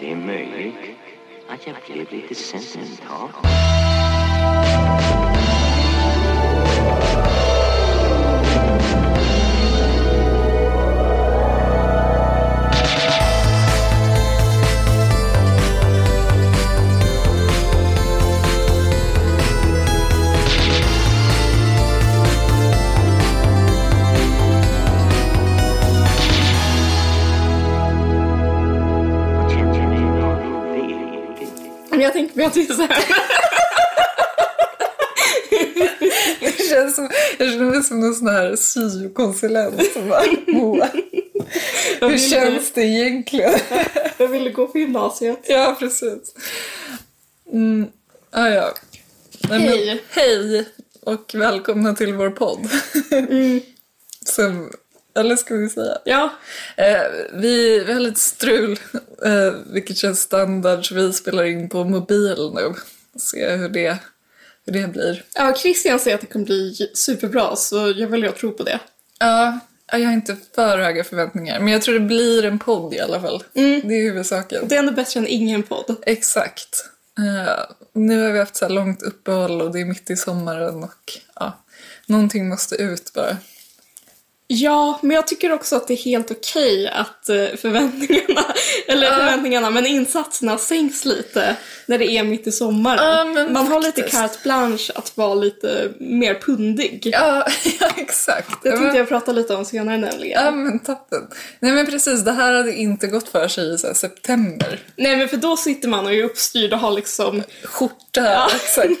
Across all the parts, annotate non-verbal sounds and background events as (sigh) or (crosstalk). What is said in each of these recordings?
Det är möjligt att jag blev lite sentimental. Och känner ni någon vilket? Men jag tänker mig att det är så här. (laughs) Jag känns som, jag känner mig som någon sån här syokonsulent. som bara, "Moa, Jag Hur ville- känns det egentligen? Jag ville gå på gymnasiet. Ja, precis. Mm, ah, ja. Nej, men- Hej. hej och välkomna till vår podd. Som, eller ska vi säga? Ja. Eh, vi, vi har lite strul, eh, vilket känns standard, så vi spelar in på mobil nu. Se hur det, hur det blir. ja, Christian säger att det kommer bli superbra så jag vill jag tror på det. Ja, ja, jag har inte för höga förväntningar, men jag tror det blir en podd i alla fall. Mm. Det är huvudsaken. Det är ändå bättre än ingen podd. Exakt. Eh, nu har vi haft så här långt uppehåll och det är mitt i sommaren och ja, någonting måste ut bara. Ja, men jag tycker också att det är helt okej att eh, förväntningarna, (laughs) eller förväntningarna, men insatserna sänks lite när det är mitt i sommaren. Ja, men Man har lite faktiskt. carte blanche att vara lite mer pundig. Ja, (laughs) ja exakt. Det Ja, men- tänkte jag prata lite om senare nämligen. Ja men toppen. Nej men precis, det här hade inte gått för sig i så här, september. Nej men för då sitter man och är uppstyrd och har liksom Skjorta, så här,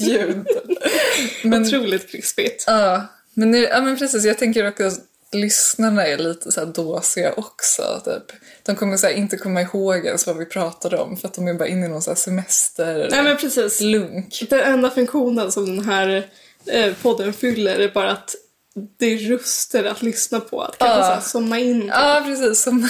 (laughs) ljud. Men, otroligt krispigt. ja, men nu, ja men precis, jag tänker också att lyssnarna är lite så här dåsiga också. Typ. De kommer så här, inte komma ihåg ens vad vi pratade om för att de är bara inne i någon så här, semester Nej men precis. lunk. Den enda funktionen som den här eh, podden fyller är bara att det är röster att lyssna på. Att kanske Ja. så här somna in. Ja, precis. Som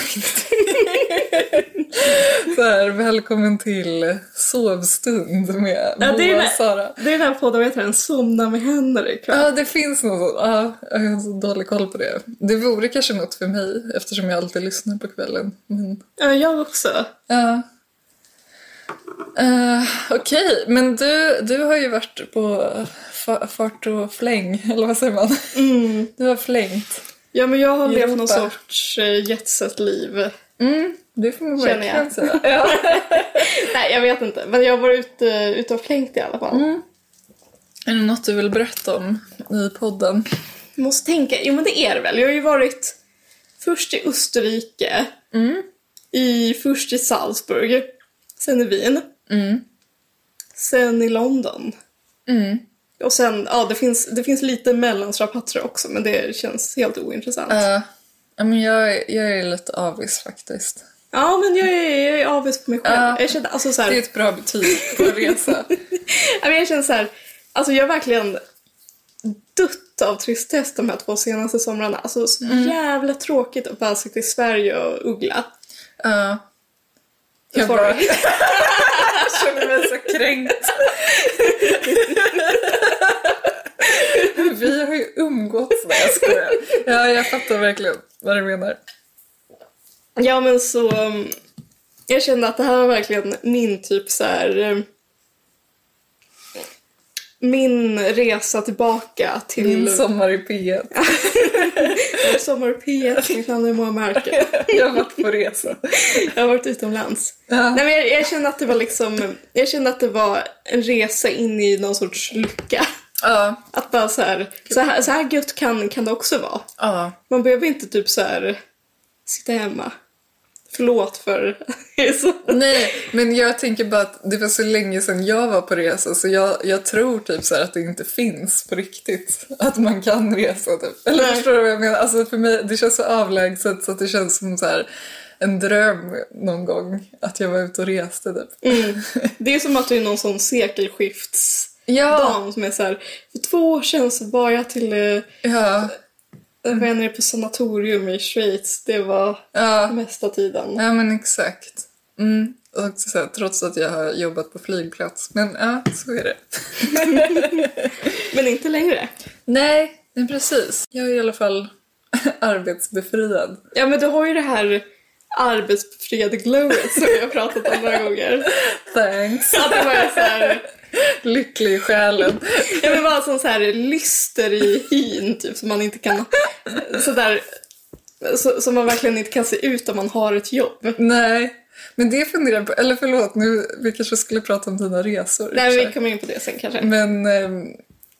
så här, välkommen till sovstund med Ja, Moa det är och det. Sara. Det är den här podden, vad heter den? Somna med Henrik va? Ja, det finns något sånt. Ja, jag har så dålig koll på det. Det vore kanske något för mig eftersom jag alltid lyssnar på kvällen. Men, Ja, jag också. ja. Eh, Okej, men du, du har ju varit på fa- fart och fläng, (laughs) eller vad säger man? Mm. Du har flängt. Ja men jag har Europa. levt någon sorts eh, jetset-liv. Det Mm, får man Känner verkligen jag. säga. Ja. Nej jag vet inte, men jag har varit ute, ute och flängt i alla fall. Är det något du vill berätta om i podden? Måste tänka, jo men det är det väl. Jag har ju varit först i Österrike, Mm. i, först i Salzburg, sen i Wien, Mm. sen i London. Och sen, ja det finns, det finns lite mellanrabatter också men det känns helt ointressant. Eh, ja, men jag, jag är lite avis faktiskt. Ja men jag är, jag är avis på mig själv. Ja. Jag känner alltså så här, Det är ett bra betyg på en (laughs) resa. Ja, men jag känner så här, alltså jag har verkligen dött av tristess de här två senaste somrarna. Alltså så Mm. jävla tråkigt att bara sitta i Sverige och uggla. Ja. Eh, Jag Sorry. bara... jag känner mig så kränkt. Vi har ju umgåtts med, jag skojar. Ja, jag fattar verkligen vad du menar. Ja men så... um, Jag kände att det här var verkligen min typ så här... um, Min resa tillbaka till Min sommar i P1. sommar P1. Mitt namn är Moa Märke. Jag har varit på resa. Jag har varit utomlands. Ja. Nej, men jag, jag kände att det var liksom... Jag kände att det var en resa in i någon sorts lycka. Ja. Att bara så här, så här, så här gött kan, kan det också vara. Ja. Man behöver inte typ så här sitta hemma. Förlåt för... (laughs) Nej, men jag tänker bara att det var så länge sedan jag var på resa så jag, jag tror typ så här att det inte finns på riktigt att man kan resa. Typ. Eller Nej. förstår du vad jag menar? Alltså för mig, det känns så avlägset så att det känns som så här en dröm någon gång att jag var ute och reste typ. Det är som att du är någon sån sekelskiftsdam Ja, som är så här... För två år sedan så var jag till eh, ja, vänner på sanatorium i Schweiz. Det var ja, mesta tiden. ja men exakt. Mm. Och också så här, trots att jag har jobbat på flygplats. Men ja, så är det. Men inte längre. Nej, men precis. Jag är i alla fall (laughs) arbetsbefriad. Ja, men du har ju det här arbetsbefriade glowet som jag har pratat om några gånger. Thanks. Att det var så här, Lycklig i själen. jag vill vara sån så här lyster i hyn typ som man inte kan, så där, så, som man verkligen inte kan se ut om man har ett jobb. Nej. Men det funderar jag på, eller förlåt, nu, vi kanske skulle prata om dina resor. i och för Nej, sig. vi kommer in på det sen kanske. Men ehm,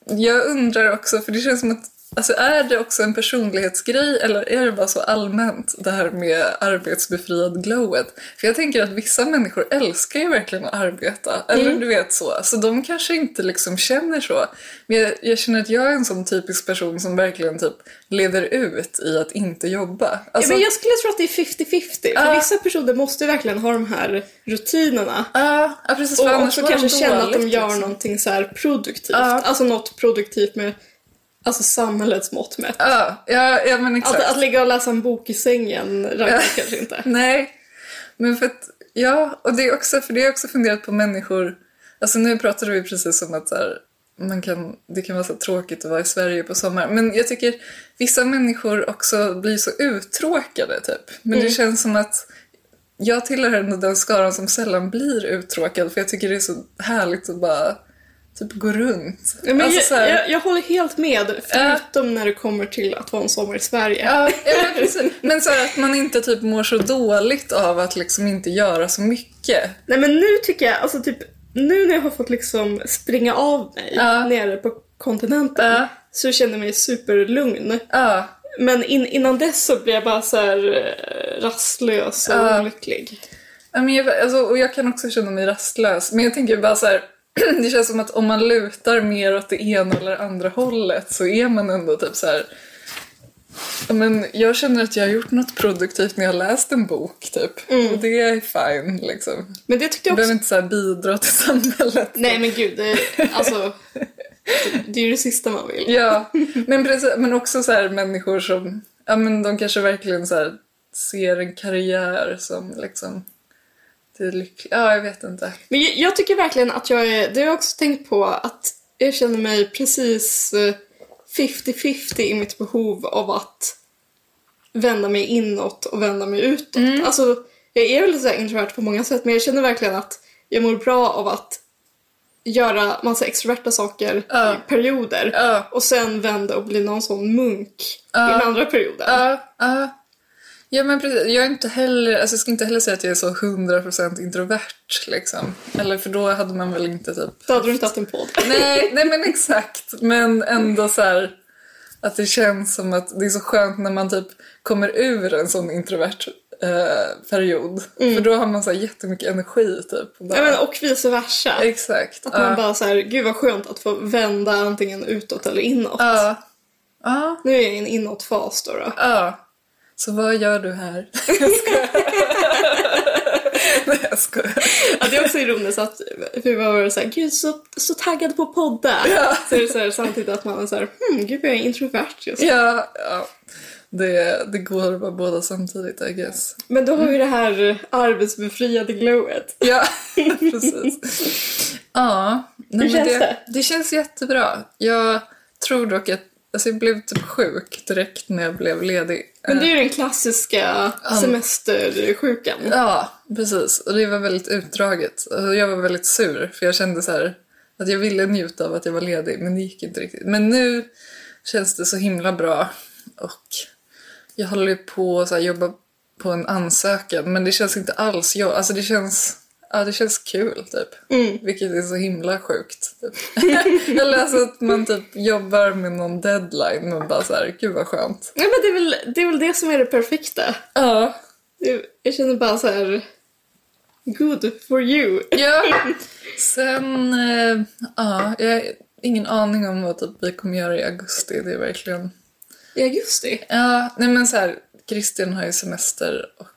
jag undrar också, för det känns som att Alltså är det också en personlighetsgrej eller är det bara så allmänt det här med arbetsbefriad glowet? För jag tänker att vissa människor älskar ju verkligen att arbeta, eller Mm. du vet så, så de kanske inte liksom känner så. Men jag, jag känner att jag är en sån typisk person som verkligen typ leder ut i att inte jobba. Alltså, ja, men jag skulle tro att det är 50-50. För Ja. vissa personer måste verkligen ha de här rutinerna. Ja, ja, precis, för Och annars också mår de kanske känna att de dåligt, gör liksom. någonting så här produktivt. Ja. Alltså något produktivt med alltså samhällets mått mätt. Ja, ja, ja men exakt. Att, att ligga och läsa en bok i sängen räknas kanske inte. Nej, men för att, ja, och det är också, för det har jag också funderat på människor, alltså nu pratade vi precis om att så här, man kan, det kan vara så tråkigt att vara i Sverige på sommaren, men jag tycker vissa människor också blir så uttråkade typ, men Mm. det känns som att jag tillhör ändå den skaran som sällan blir uttråkad för jag tycker det är så härligt att bara typ gå runt. (laughs) Men Alltså, så här- jag, jag, jag håller helt med, förutom när det kommer till att vara en sommar i Sverige. Ja, ja men precis. Men så här att man inte typ mår så dåligt av att liksom inte göra så mycket. Nej men nu tycker jag, alltså typ nu när jag har fått liksom springa av mig Ja. nere på kontinenten Ja. så känner jag mig superlugn. Ja, Men in, innan dess så blev jag bara så här eh, rastlös och Ja. olycklig. Ja, men jag, alltså, och jag kan också känna mig rastlös. Men jag tänker bara så här, (clears throat) det känns som att om man lutar mer åt det ena eller andra hållet så är man ändå typ så här. ja, Men jag känner att jag har gjort något produktivt när jag har läst en bok typ. Och det är fine liksom. Men det tyckte Jag jag också... behöver inte så här bidra till samhället. Nej men gud, det, alltså... Det är ju det sista man vill. Ja, men, precis, men också så här människor som, ja men de kanske verkligen så här ser en karriär som liksom, det är lyckligt. Ja, jag vet inte. Men jag, jag tycker verkligen att jag är... Det har jag också tänkt på, att jag känner mig precis eh, 50-50 i mitt behov av att vända mig inåt och vända mig utåt. Mm. Alltså, jag är väl så här introvert på många sätt, men jag känner verkligen att jag mår bra av att göra massa extroverta saker Ja. i perioder. Ja. Och sen vända och bli någon sån munk i den andra perioden. Ja, ja. Ja, men precis. Jag, är inte heller, alltså jag ska inte heller säga att jag är så 100% introvert. Liksom. Eller för då hade man väl inte typ... Då hade du inte haft en podd. Nej, nej men exakt. Men ändå så här att det känns som att det är så skönt när man typ kommer ur en sån introvert eh, period. För då har man så här jättemycket energi typ. Och bara, Mm. Ja, men, och vice versa. exakt. Att man ja. bara så här, gud vad skönt att få vända antingen utåt eller inåt. Ja. Ja. Nu är jag i en inåtfas då. då. Ja. Så vad gör du här? (laughs) Jag skojar. Nej, jag skojar. Ja, det är också ironiskt att vi var så här, gud så, så taggad på podda. Så är det så här, samtidigt att man är så här, hmm, gud jag är introvert just nu. Ja, ja. Det, det går att vara båda samtidigt, I guess. Men då har vi det här eh, arbetsbefriade glowet. (laughs) Ja, precis. Ja. Nej, Hur men känns det? det? Det känns jättebra. Jag tror dock att alltså jag blev typ sjuk direkt när jag blev ledig. Men det är ju den klassiska semestersjukan. Ja, precis. Och det var väldigt utdraget. Alltså, jag var väldigt sur, för jag kände så här att jag ville njuta av att jag var ledig, men det gick inte riktigt. Men nu känns det så himla bra och jag håller ju på att så här jobba på en ansökan, men det känns inte alls jag. Alltså det känns... Ja, det känns kul typ. Vilket är så himla sjukt. Typ. (laughs) jag läser att man typ jobbar med någon deadline och bara så här, gud vad skönt. Nej, men det, är väl, det är väl det som är det perfekta. Ja, Det- Jag känner bara så här, good for you. Ja. Sen, eh, ja, jag har ingen aning om vad typ vi kommer göra i augusti. Det är verkligen... I augusti. Ja, nej men så här, Christian har ju semester och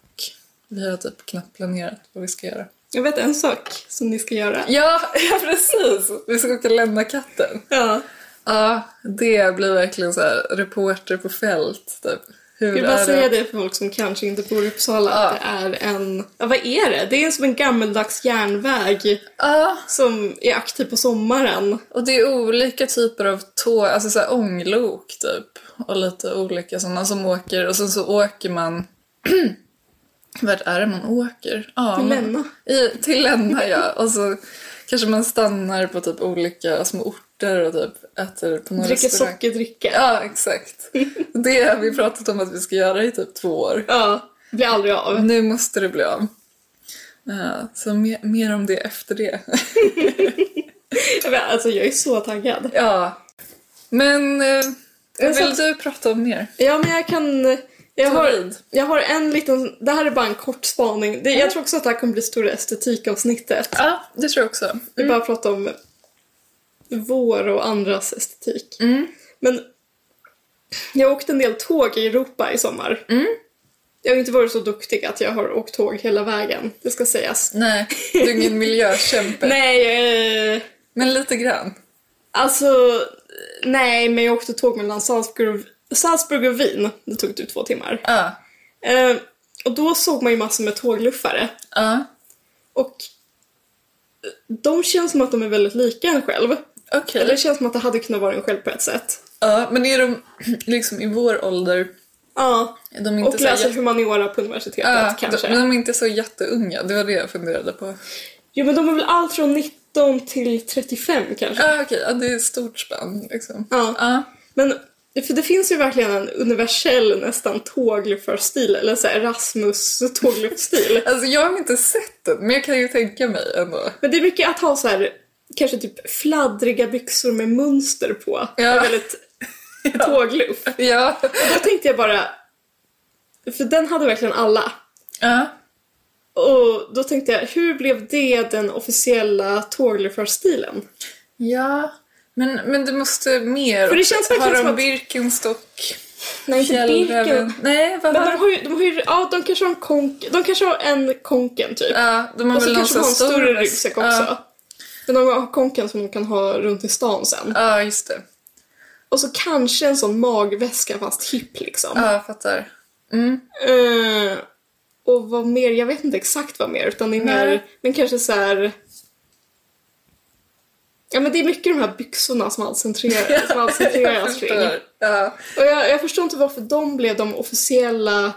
vi har typ knappt planerat vad vi ska göra. Jag vet en sak som ni ska göra. Ja, (laughs) ja precis! Vi ska åka och lämna katten. Ja. Ja, det blir verkligen så här reporter på fält, typ. Hur Jag vill bara är säga det? det för folk som kanske inte bor i Uppsala. Ja. Att det är en... Ja, vad är det? Det är som en gammeldags järnväg Ja, som är aktiv på sommaren. Och det är olika typer av tåg, alltså så här ånglok typ. Och lite olika sådana som åker. Och sen så åker man (clears throat) Vart är det man åker? Ja, Till man- Länna. I, till Länna, ja. Och så kanske man stannar på typ olika små orter och typ äter på någon Dricker restaurang. sockerdricka. Ja, (laughs) exakt. Det har vi pratat om att vi ska göra i typ två år. Ja, blir aldrig av. Nu måste det bli av. Ja, så mer, mer om det efter det. Jag vet, Alltså jag är så taggad. ja. Men eh, Jag vad satt- vill du prata om mer? Ja men jag kan... Jag Ta har, vid. jag har en liten... Det här är bara en kort spaning. Det, jag tror också att det här kommer bli stora estetikavsnittet. Ja, det tror jag också. Vi bara pratar om vår och andras estetik. Mm. Men jag har åkt en del tåg i Europa i sommar. Jag har inte varit så duktig att jag har åkt tåg hela vägen, det ska sägas. Nej, du är ingen miljökämpe. Nej, eh, Men lite grann. alltså... Nej, men jag åkte tåg mellan Salzburg och, Salzburg och Wien. Det tog typ två timmar. Ja. Eh, och då såg man ju massor med tågluffare. Ja. Och eh, de känns som att de är väldigt lika en själv. Okej. Eller det känns som att det hade kunnat vara en själv på ett sätt. Ja, men är de liksom i vår ålder, Ja, är de inte och så läser jätte- humaniora på universitetet Ja, kanske. de, men de är inte så jätteunga. Det var det jag funderade på. Jo men de är väl allt från 19 till 35 kanske. Ja, okej. Ja, det är ett stort spann liksom. Ja. Ja. Men för det finns ju verkligen en universell nästan tågluffarstil, eller så här Erasmus (laughs) tågluffstil. Alltså jag har inte sett den, men jag kan ju tänka mig ändå. men det är mycket att ha så här kanske typ fladdriga byxor med mönster på. Ja. Är (laughs) väldigt tågluff. Ja. Då tänkte jag bara, för den hade verkligen alla. Ja. Och då tänkte jag, hur blev det den officiella tågluffarstilen? Ja. Men, men det måste mer. För det känns verkligen har de som att- Birkenstock? Nej, inte Birken. Fjällräven? Nej, vad Men har de de? har ju, de har ju, ja de kanske har en konk, de kanske har en konken typ. Ja, de har och så väl någon kanske de har en sån större väst- ryggsäck också. Ja. Men de har konken som de kan ha runt i stan sen. ja, just det. Och så kanske en sån magväska fast hipp liksom. Ja, jag fattar. Mm. Eh, och vad mer, jag vet inte exakt vad mer utan det är mer, Nej. men kanske så här. Ja men det är mycket de här byxorna som allt (laughs) centrerar- som allt jag centreras kring. förstår. Ja. Och jag, jag förstår inte varför de blev de officiella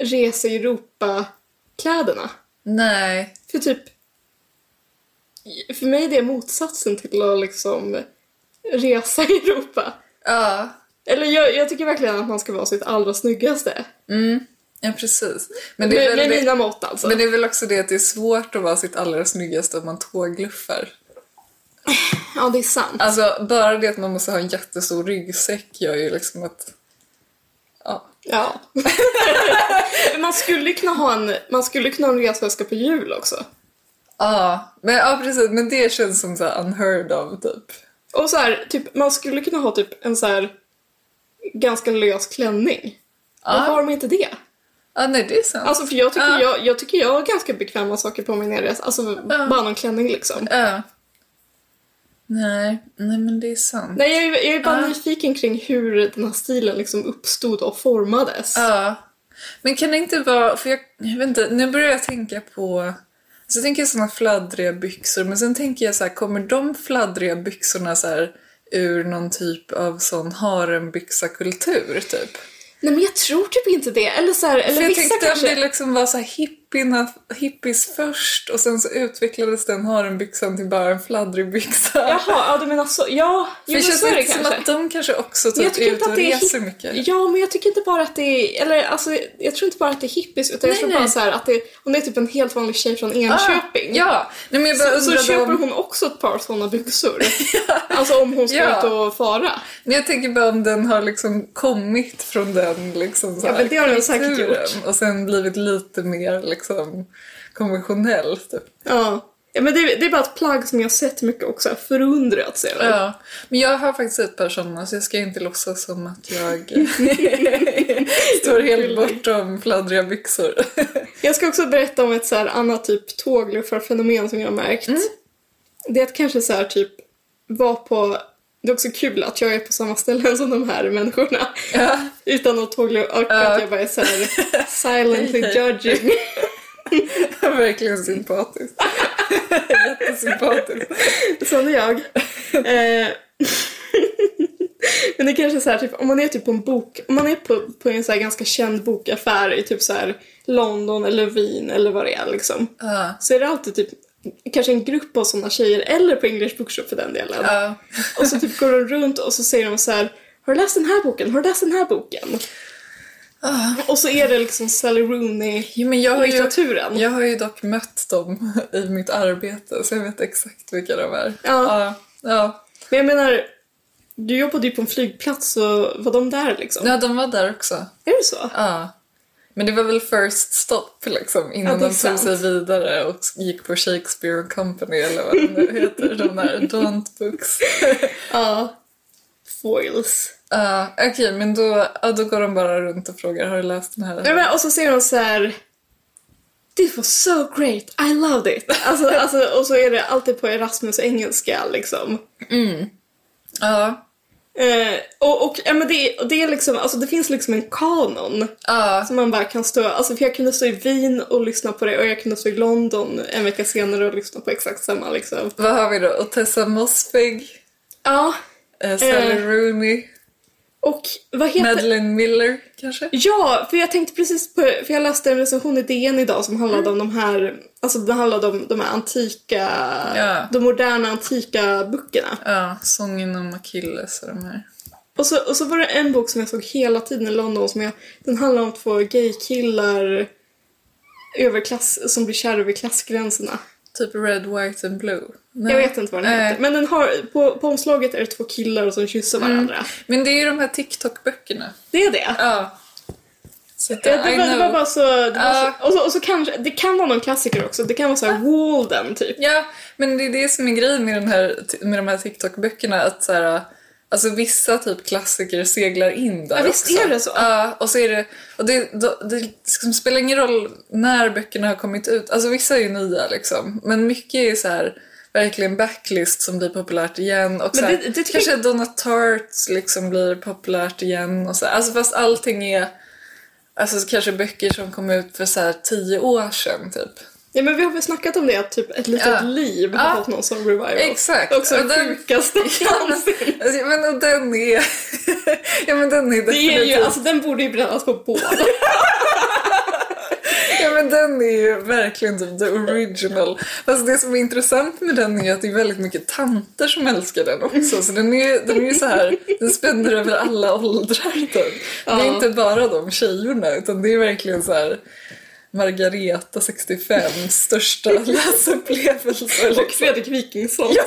resa i Europa-kläderna. Nej. För typ... För mig är det motsatsen till att liksom resa i Europa. Ja. Eller jag, jag tycker verkligen att man ska vara sitt allra snyggaste. Ja, precis. Men det, är Med, väl med det, mina mått alltså. men det är väl också det att det är svårt att vara sitt allra snyggaste om man tågluffar. Ja, det är sant. Alltså, bara det att man måste ha en jättestor ryggsäck gör ju liksom att... Ja. Ja. (laughs) man skulle kunna ha en, man skulle kunna ha en resväska på jul också. Ja, men, ja precis. Men det känns som så här unheard of, typ. Och så här, typ, man skulle kunna ha typ en så här ganska lös klänning. Varför har de inte det? Ja, nej, det är sant. Alltså för jag tycker, Ja. jag, jag tycker jag har ganska bekväma saker på mig när jag reser. Alltså bara någon klänning liksom. Ja. Nej, nej men det är sant. Nej, jag är, jag är bara Ja. nyfiken kring hur den här stilen liksom uppstod och formades. Ja. Men kan det inte vara, för jag, jag vet inte, nu börjar jag tänka på, alltså jag tänker sådana fladdriga byxor, men sen tänker jag så här, kommer de fladdriga byxorna så här ur någon typ av sån harembyxa-kultur typ? Nej, men jag tror typ inte det. Eller så här, eller För jag vissa tänkte kanske. om det liksom var så här hippierna, hippies först och sen så utvecklades den harembyxan till bara en fladdrig byxa. Jaha, ja du menar så. Ja, jo, För det men känns så är det inte som kanske. att de kanske också Men jag typ tycker är inte ute att och det är reser hipp- mycket. Ja, men jag tycker inte bara att det är... Eller alltså, jag tror inte bara att det är hippies utan jag Nej, tror bara nej. så här att det Om det är typ en helt vanlig tjej från Ah, Enköping. Ja, Nej, men jag bara Så, så undrade köper om... hon också ett par såna (laughs) byxor. Alltså om hon ska Ja. ut och fara. Men jag tänker bara om den har liksom kommit från den liksom så Ja, här, men det har den säkert kulturen gjort. och sen blivit lite mer liksom konventionell. Typ. Ja. ja men det, det är bara ett plagg som jag sett mycket också, jag förundrats över. Ja. Men jag har faktiskt ett par sådana så jag ska inte låtsas som att jag står helt bortom fladdriga byxor. Jag ska också berätta om ett så här annat typ tågluffarfenomen som jag har märkt. Mm. Det är att kanske så här typ vara på... Det är också kul att jag är på samma ställe (laughs) som de här människorna. ja. Utan att tågluffa, och att jag bara är så här silently Hej, hej. judging. Verkligen sympatiskt. Jättesympatiskt. Sån är jag. Eh, (laughs) Men det är kanske så här, typ, om man är typ på en bok, om man är på, på en så här ganska känd bokaffär i typ så här London eller Wien eller vad det är liksom. Ja. Så är det alltid typ kanske en grupp av sådana tjejer, eller på English Bookshop för den delen. Ja. Och så typ går de runt och så säger de så här Har du läst den här boken? Har du läst den här boken? Och så är det liksom Sally Rooney-litteraturen. Jo, men jag har, ju, jag har ju dock mött dem i mitt arbete så jag vet exakt vilka de är. Ja. Ja. ja. Men jag menar, du jobbade ju på en flygplats så var de där liksom? Ja, de var där också. Är det så? Ja. Men det var väl first stop liksom Ja, innan det är de tog sig sant. vidare och gick på Shakespeare Company eller vad det nu heter, de där Daunt Books. Ja. Foils. Ja, Okej, men då, ja, då går de bara runt och frågar har du läst den här? Ja, men, och så säger de så här This was so great, I loved it! Alltså, alltså, och så är det alltid på Erasmus engelska liksom. Ja, Eh, och och ja, men det, och det, är liksom, alltså, det finns liksom en kanon ja, Som man bara kan stå, alltså för jag kunde stå i Wien och lyssna på det och jag kunde stå i London en vecka senare och lyssna på exakt samma liksom. vad har vi då? Och Tessa Mossbeg, Ja, eh, Sally Eh. Rooney, och vad heter... Madeleine Miller kanske? Ja, för jag tänkte precis på, för jag läste en recension i DN idag som handlade Mm. om de här, alltså den handlade om de här antika, Ja. de moderna antika böckerna. Ja, Sången om Achilles och de här. Och så, och så var det en bok som jag såg hela tiden i London som jag, den handlar om två gaykillar överklass, som blir kära över klassgränserna. Typ Red, White and Blue. Nej. Jag vet inte vad den Nej. heter. Men den har, på, på omslaget är det två killar som kysser Mm. varandra. Men det är ju de här TikTok-böckerna. Det är det. Ja. Så att, Det, det, I var, det var know. bara så... Det var Ja. så, och så, och så kanske, det kan vara någon klassiker också. Det kan vara så här Walden typ. Ja, men det är det som är grejen med, den här, med de här TikTok-böckerna. Att så här, alltså vissa typ klassiker seglar in där Ja, visst också. är det så? Ja, och så är det... Och det, då- det liksom spelar ingen roll när böckerna har kommit ut. Alltså vissa är ju nya liksom. Men mycket är så här verkligen backlist som blir populärt igen. Och så här, det- det tycker kanske Donna Tartt liksom blir populärt igen. Och så här. Alltså fast allting är... Alltså kanske böcker som kom ut för så här tio år sedan typ. Ja, men vi har väl snackat om det att typ ett litet Ja. liv har Ja. fått någon som revival. Exakt. Också Och det den- sjukaste någonsin. Alltså, (laughs) ja, men och den är... (laughs) ja men den är Det är ju, definitivt... alltså den borde ju brännas på (laughs) bål. Ja men den är ju verkligen typ the original. Fast det som är intressant med den är ju att det är väldigt mycket tanter som älskar den också. Så den är ju den är ju så här, den spänner över alla åldrar typ. Det är Ja. inte bara de tjejerna utan det är verkligen så här Margareta 65, största (laughs) läsupplevelse. Och Liksom. Fredrik Wikingsson. Ja,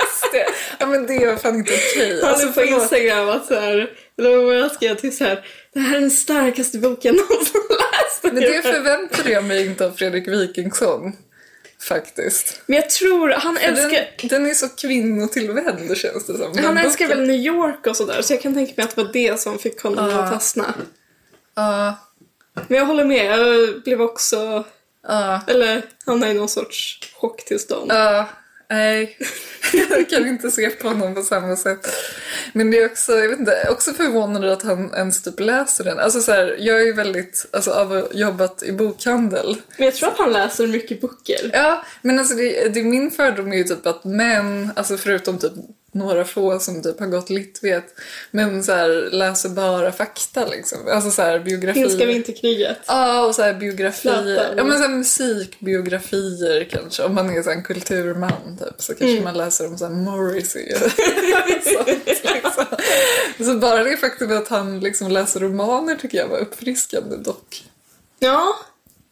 just det! Ja men det är fan inte okej. Han Alltså, alltså, på förlåt. Instagram att såhär, eller vad jag skrev till såhär, det här är den starkaste boken jag någonsin (laughs) läst. Men det förväntade jag mig inte av Fredrik Wikingsson. Faktiskt. Men jag tror, han Den, älskar, den är så kvinnotillvänd känns det som. han Den älskar boken. väl New York och sådär så jag kan tänka mig att det var det som fick honom Ja. att fastna. Ja, Men jag håller med, jag blev också, ja, eller hamnade i någon sorts chocktillstånd. ja. Nej. (laughs) Jag kan inte se på honom på samma sätt. Men det är också, jag vet inte, jag är också förvånad att han ens typ läser den. Alltså så här, jag är ju väldigt, alltså av att ha jobbat i bokhandel. Men jag tror att han läser mycket böcker. Ja, men alltså det, det, min fördom är ju typ att män, alltså förutom typ några få som typ har gått litvet, men så här, läser bara fakta liksom. Alltså så här biografier. Finska vinterkriget. Ja, och så här biografier. Zlatan. Ja, men så här musikbiografier kanske. Om man är så här en kulturman typ så kanske man läser om så här Morrissey (laughs) och sånt liksom. Så bara det faktum att han liksom läser romaner tycker jag var uppfriskande dock. Ja,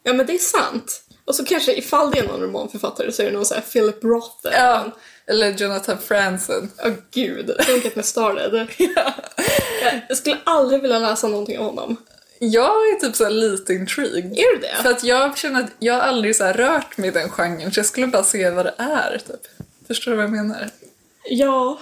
ja men det är sant. Och så kanske ifall det är någon romanförfattare så är det någon såhär Philip Roth eller Ja. Eller Jonathan Franzen. Åh gud, Don't med (laughs) started. Jag skulle aldrig vilja läsa någonting om honom. Jag är typ så här lite intrigued. Är du det? För att jag känner att jag har aldrig så här rört mig i den genren så jag skulle bara se vad det är typ. Förstår du vad jag menar? Ja.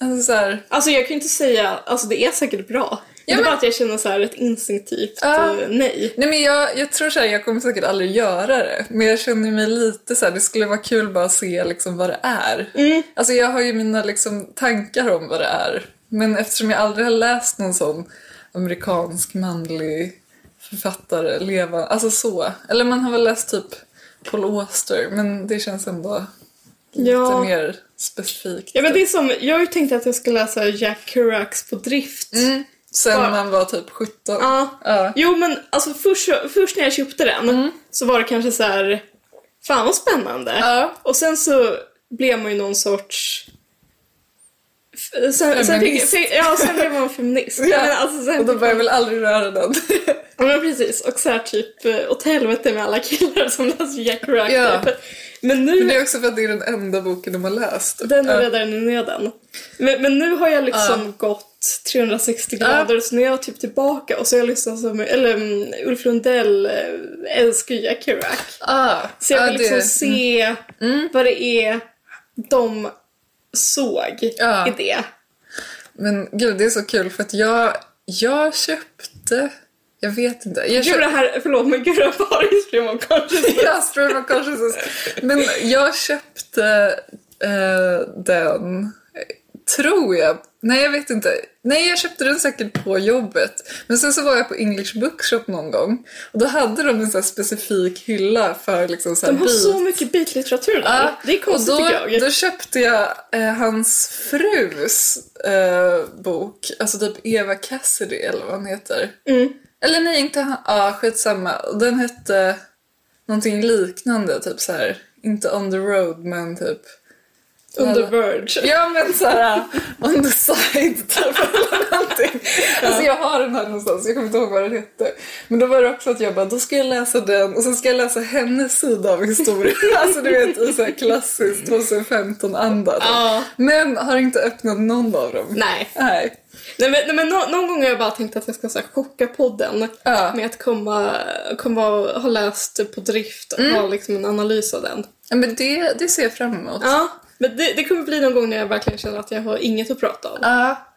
Alltså så här, Alltså jag kan ju inte säga, alltså det är säkert bra. Ja, det är men- bara att jag känner så här ett instinktivt Ja. eh, nej. Nej men jag, jag tror såhär, jag kommer säkert aldrig göra det. Men jag känner mig lite såhär, det skulle vara kul bara att se liksom vad det är. Mm. Alltså jag har ju mina liksom tankar om vad det är. Men eftersom jag aldrig har läst någon sån amerikansk manlig författare, leva, alltså så. Eller man har väl läst typ Paul Auster, men det känns ändå Ja. Lite mer specifikt. Ja, men det är som, jag har ju tänkt att jag ska läsa Jack Kerouacs på drift. Mm. Sen Ja. man var typ 17. Ja. Ja. Mm. Jo, men alltså först, först när jag köpte den så var det kanske så här, fan vad spännande. Ja. Och sen så blev man ju någon sorts... F- Sen, sen, fick, Feminist. sen, ja, sen blev man (laughs) feminist. Ja. Men alltså, sen, Och då var jag väl aldrig (laughs) röra den. Ja men precis, och så här typ eh, åt helvete med alla killar som (laughs) läser Jack Rack. Ja. typ. Men nu, Men det är också för att det är den enda boken de har läst. den är Ja. redan i nöden. Men, men nu har jag liksom gått 360 grader så nu är jag typ tillbaka och så har jag lyssnat som, eller mm, Ulf Lundell eh, älskar ju Jack Rack. Ah, Så jag ja, vill liksom det- mm. se vad det är de såg Ja. i det. Men gud, det är så kul för att jag, jag köpte... Jag vet inte. Jag Gud köpte, det här, förlåt men gud det här var ju stream of consciousness. (laughs) jag stream of consciousness. Men jag köpte eh, den, eh, tror jag. Nej, jag vet inte. Nej, jag köpte den säkert på jobbet. Men sen så var jag på English Bookshop någon gång. Och då hade de en så här specifik hylla för liksom så här De har beat. så mycket bitlitteratur där. Ja, det är konstigt och då, tycker jag. Då köpte jag eh, hans frus eh, bok, alltså typ Eva Cassidy eller vad hon heter. Mm. Eller nej, inte han. Ja, skitsamma. Och Den hette någonting liknande, typ så här. inte on the road men typ... On the verge. Ja men såhär on the side (laughs) typ eller någonting. Alltså jag har den här någonstans, jag kommer inte ihåg vad den hette. Men då var det också att jag bara, då ska jag läsa den och sen ska jag läsa hennes sida av historien. (laughs) Alltså du vet i såhär klassisk 2015-anda. typ. Ja. Men har inte öppnat någon av dem. Nej. Nej. Nej men, nej, men nå- någon gång har jag bara tänkt att jag ska så här, chocka podden Ja. med att komma, komma och ha läst på drift och Mm. ha liksom en analys av den. Ja, Men det, det ser jag fram emot. Ja. Men det, det kommer bli någon gång när jag verkligen känner att jag har inget att prata om. Ja.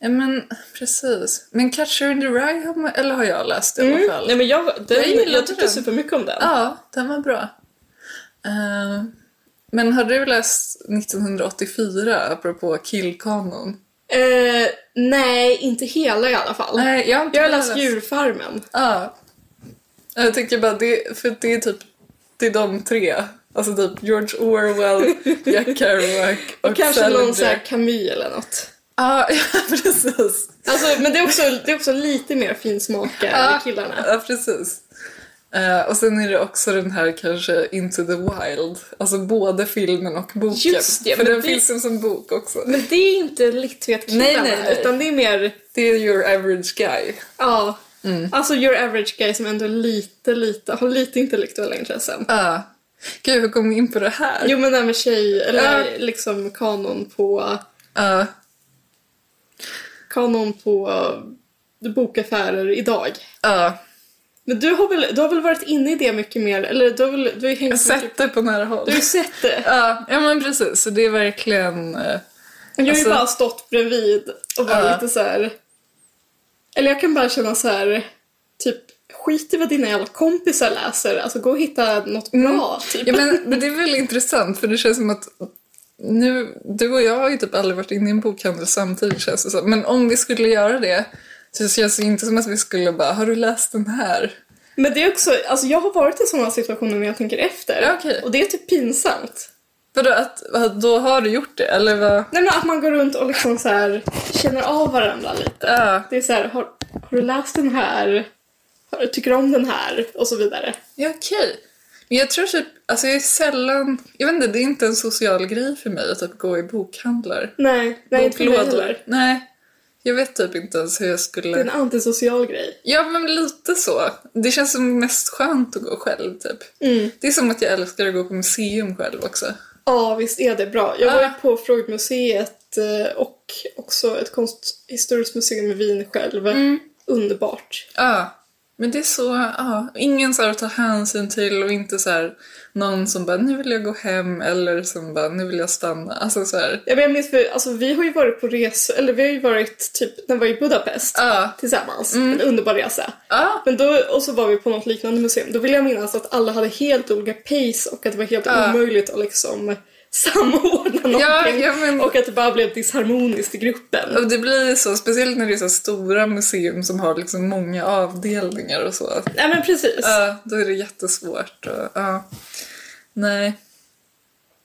Ja, men precis. Men Catcher in the Rye har, man, eller har jag läst i alla fall. Mm. Nej men jag, den, Jag jag, gillade tyckte den. supermycket om den. Ja, den var bra. Eh, men har du läst 1984, apropå killkanon? Eh, nej, inte hela i alla fall. Nej, jag har inte jag har läst läst. Djurfarmen. Ja. Jag tänker bara, det, för det är typ det är de tre. Alltså typ George Orwell, Jack Kerouac och, Och kanske Salinger. någon så här Camus eller något. Ja, (laughs) ja, precis. Alltså, men det är, också, det är också lite mer finsmakare i killarna. Ja, precis. Eh, och sen är det också den här kanske Into the Wild. Alltså både filmen och boken. Just det, för men den det- finns ju som bok också. Men det är inte Littvet-killarna, Nej, nej, nej. utan det är mer, Det är your average guy. ja, alltså your average guy som ändå är lite, lite, har lite intellektuella intressen. Ja. Gud, hur kom vi in på det här? Jo men det här med tjej, eller Ja. liksom kanon på, Ja. kanon på eh, bokaffärer idag. Ja. Men du har väl, du har väl varit inne i det mycket mer, eller du har väl, du har ju Jag har hängt mycket sett det på nära håll. du har ju sett det. Ja, ja men precis. Så det är verkligen... eh, Jag har Alltså- ju bara stått bredvid och varit Ja. lite så här. Eller jag kan bara känna så här. typ skit i vad dina jävla kompisar läser, alltså gå och hitta något bra. Mm. Typ. Ja, men, men det är väl intressant för det känns som att nu, du och jag har ju typ aldrig varit inne i en bokhandel samtidigt känns det som. Men om vi skulle göra det så känns det inte som att vi skulle bara, har du läst den här? Men det är också, alltså jag har varit i sådana situationer när jag tänker efter. Ja, okej. Och det är typ pinsamt. Vadå, att, att då har du gjort det eller vad? Nej men att man går runt och liksom så här känner av varandra lite. Ja. Det är så här, har, har du läst den här? Har, tycker du om den här? Och så vidare. Ja, okej. Men jag tror typ, alltså jag är sällan, jag vet inte, det är inte en social grej för mig att typ gå i bokhandlar. Nej, nej inte för mig Boklådor. heller. Nej, jag vet typ inte ens hur jag Det är skulle... en antisocial grej. Ja, men lite så. Det känns som mest skönt att gå själv typ. Mm. Det är som att jag älskar att gå på museum själv också. Ja, visst är det bra. Jag Ja. var ju på Freudmuseet eh, och också ett konsthistoriskt museum i Wien själv. Mm. Underbart. Ja, men det är så, ja, ingen så här att ta hänsyn till och inte så här någon som bara nu vill jag gå hem eller som bara nu vill jag stanna. Alltså så här, Ja, men Jag minns, för, alltså, vi har ju varit på resor, eller vi har ju varit typ när vi var i Budapest Ja. Mm. tillsammans. En underbar resa. ja, Men då, och så var vi på något liknande museum. Då vill jag minnas att alla hade helt olika pace och att det var helt Ja. omöjligt att liksom (laughs) samordna någonting. ja, men- Och att det bara blev disharmoniskt i gruppen. Och det blir så, speciellt när det är så stora museum som har liksom många avdelningar och så. Nej men precis. Ja, då är det jättesvårt. Och, ja. Nej.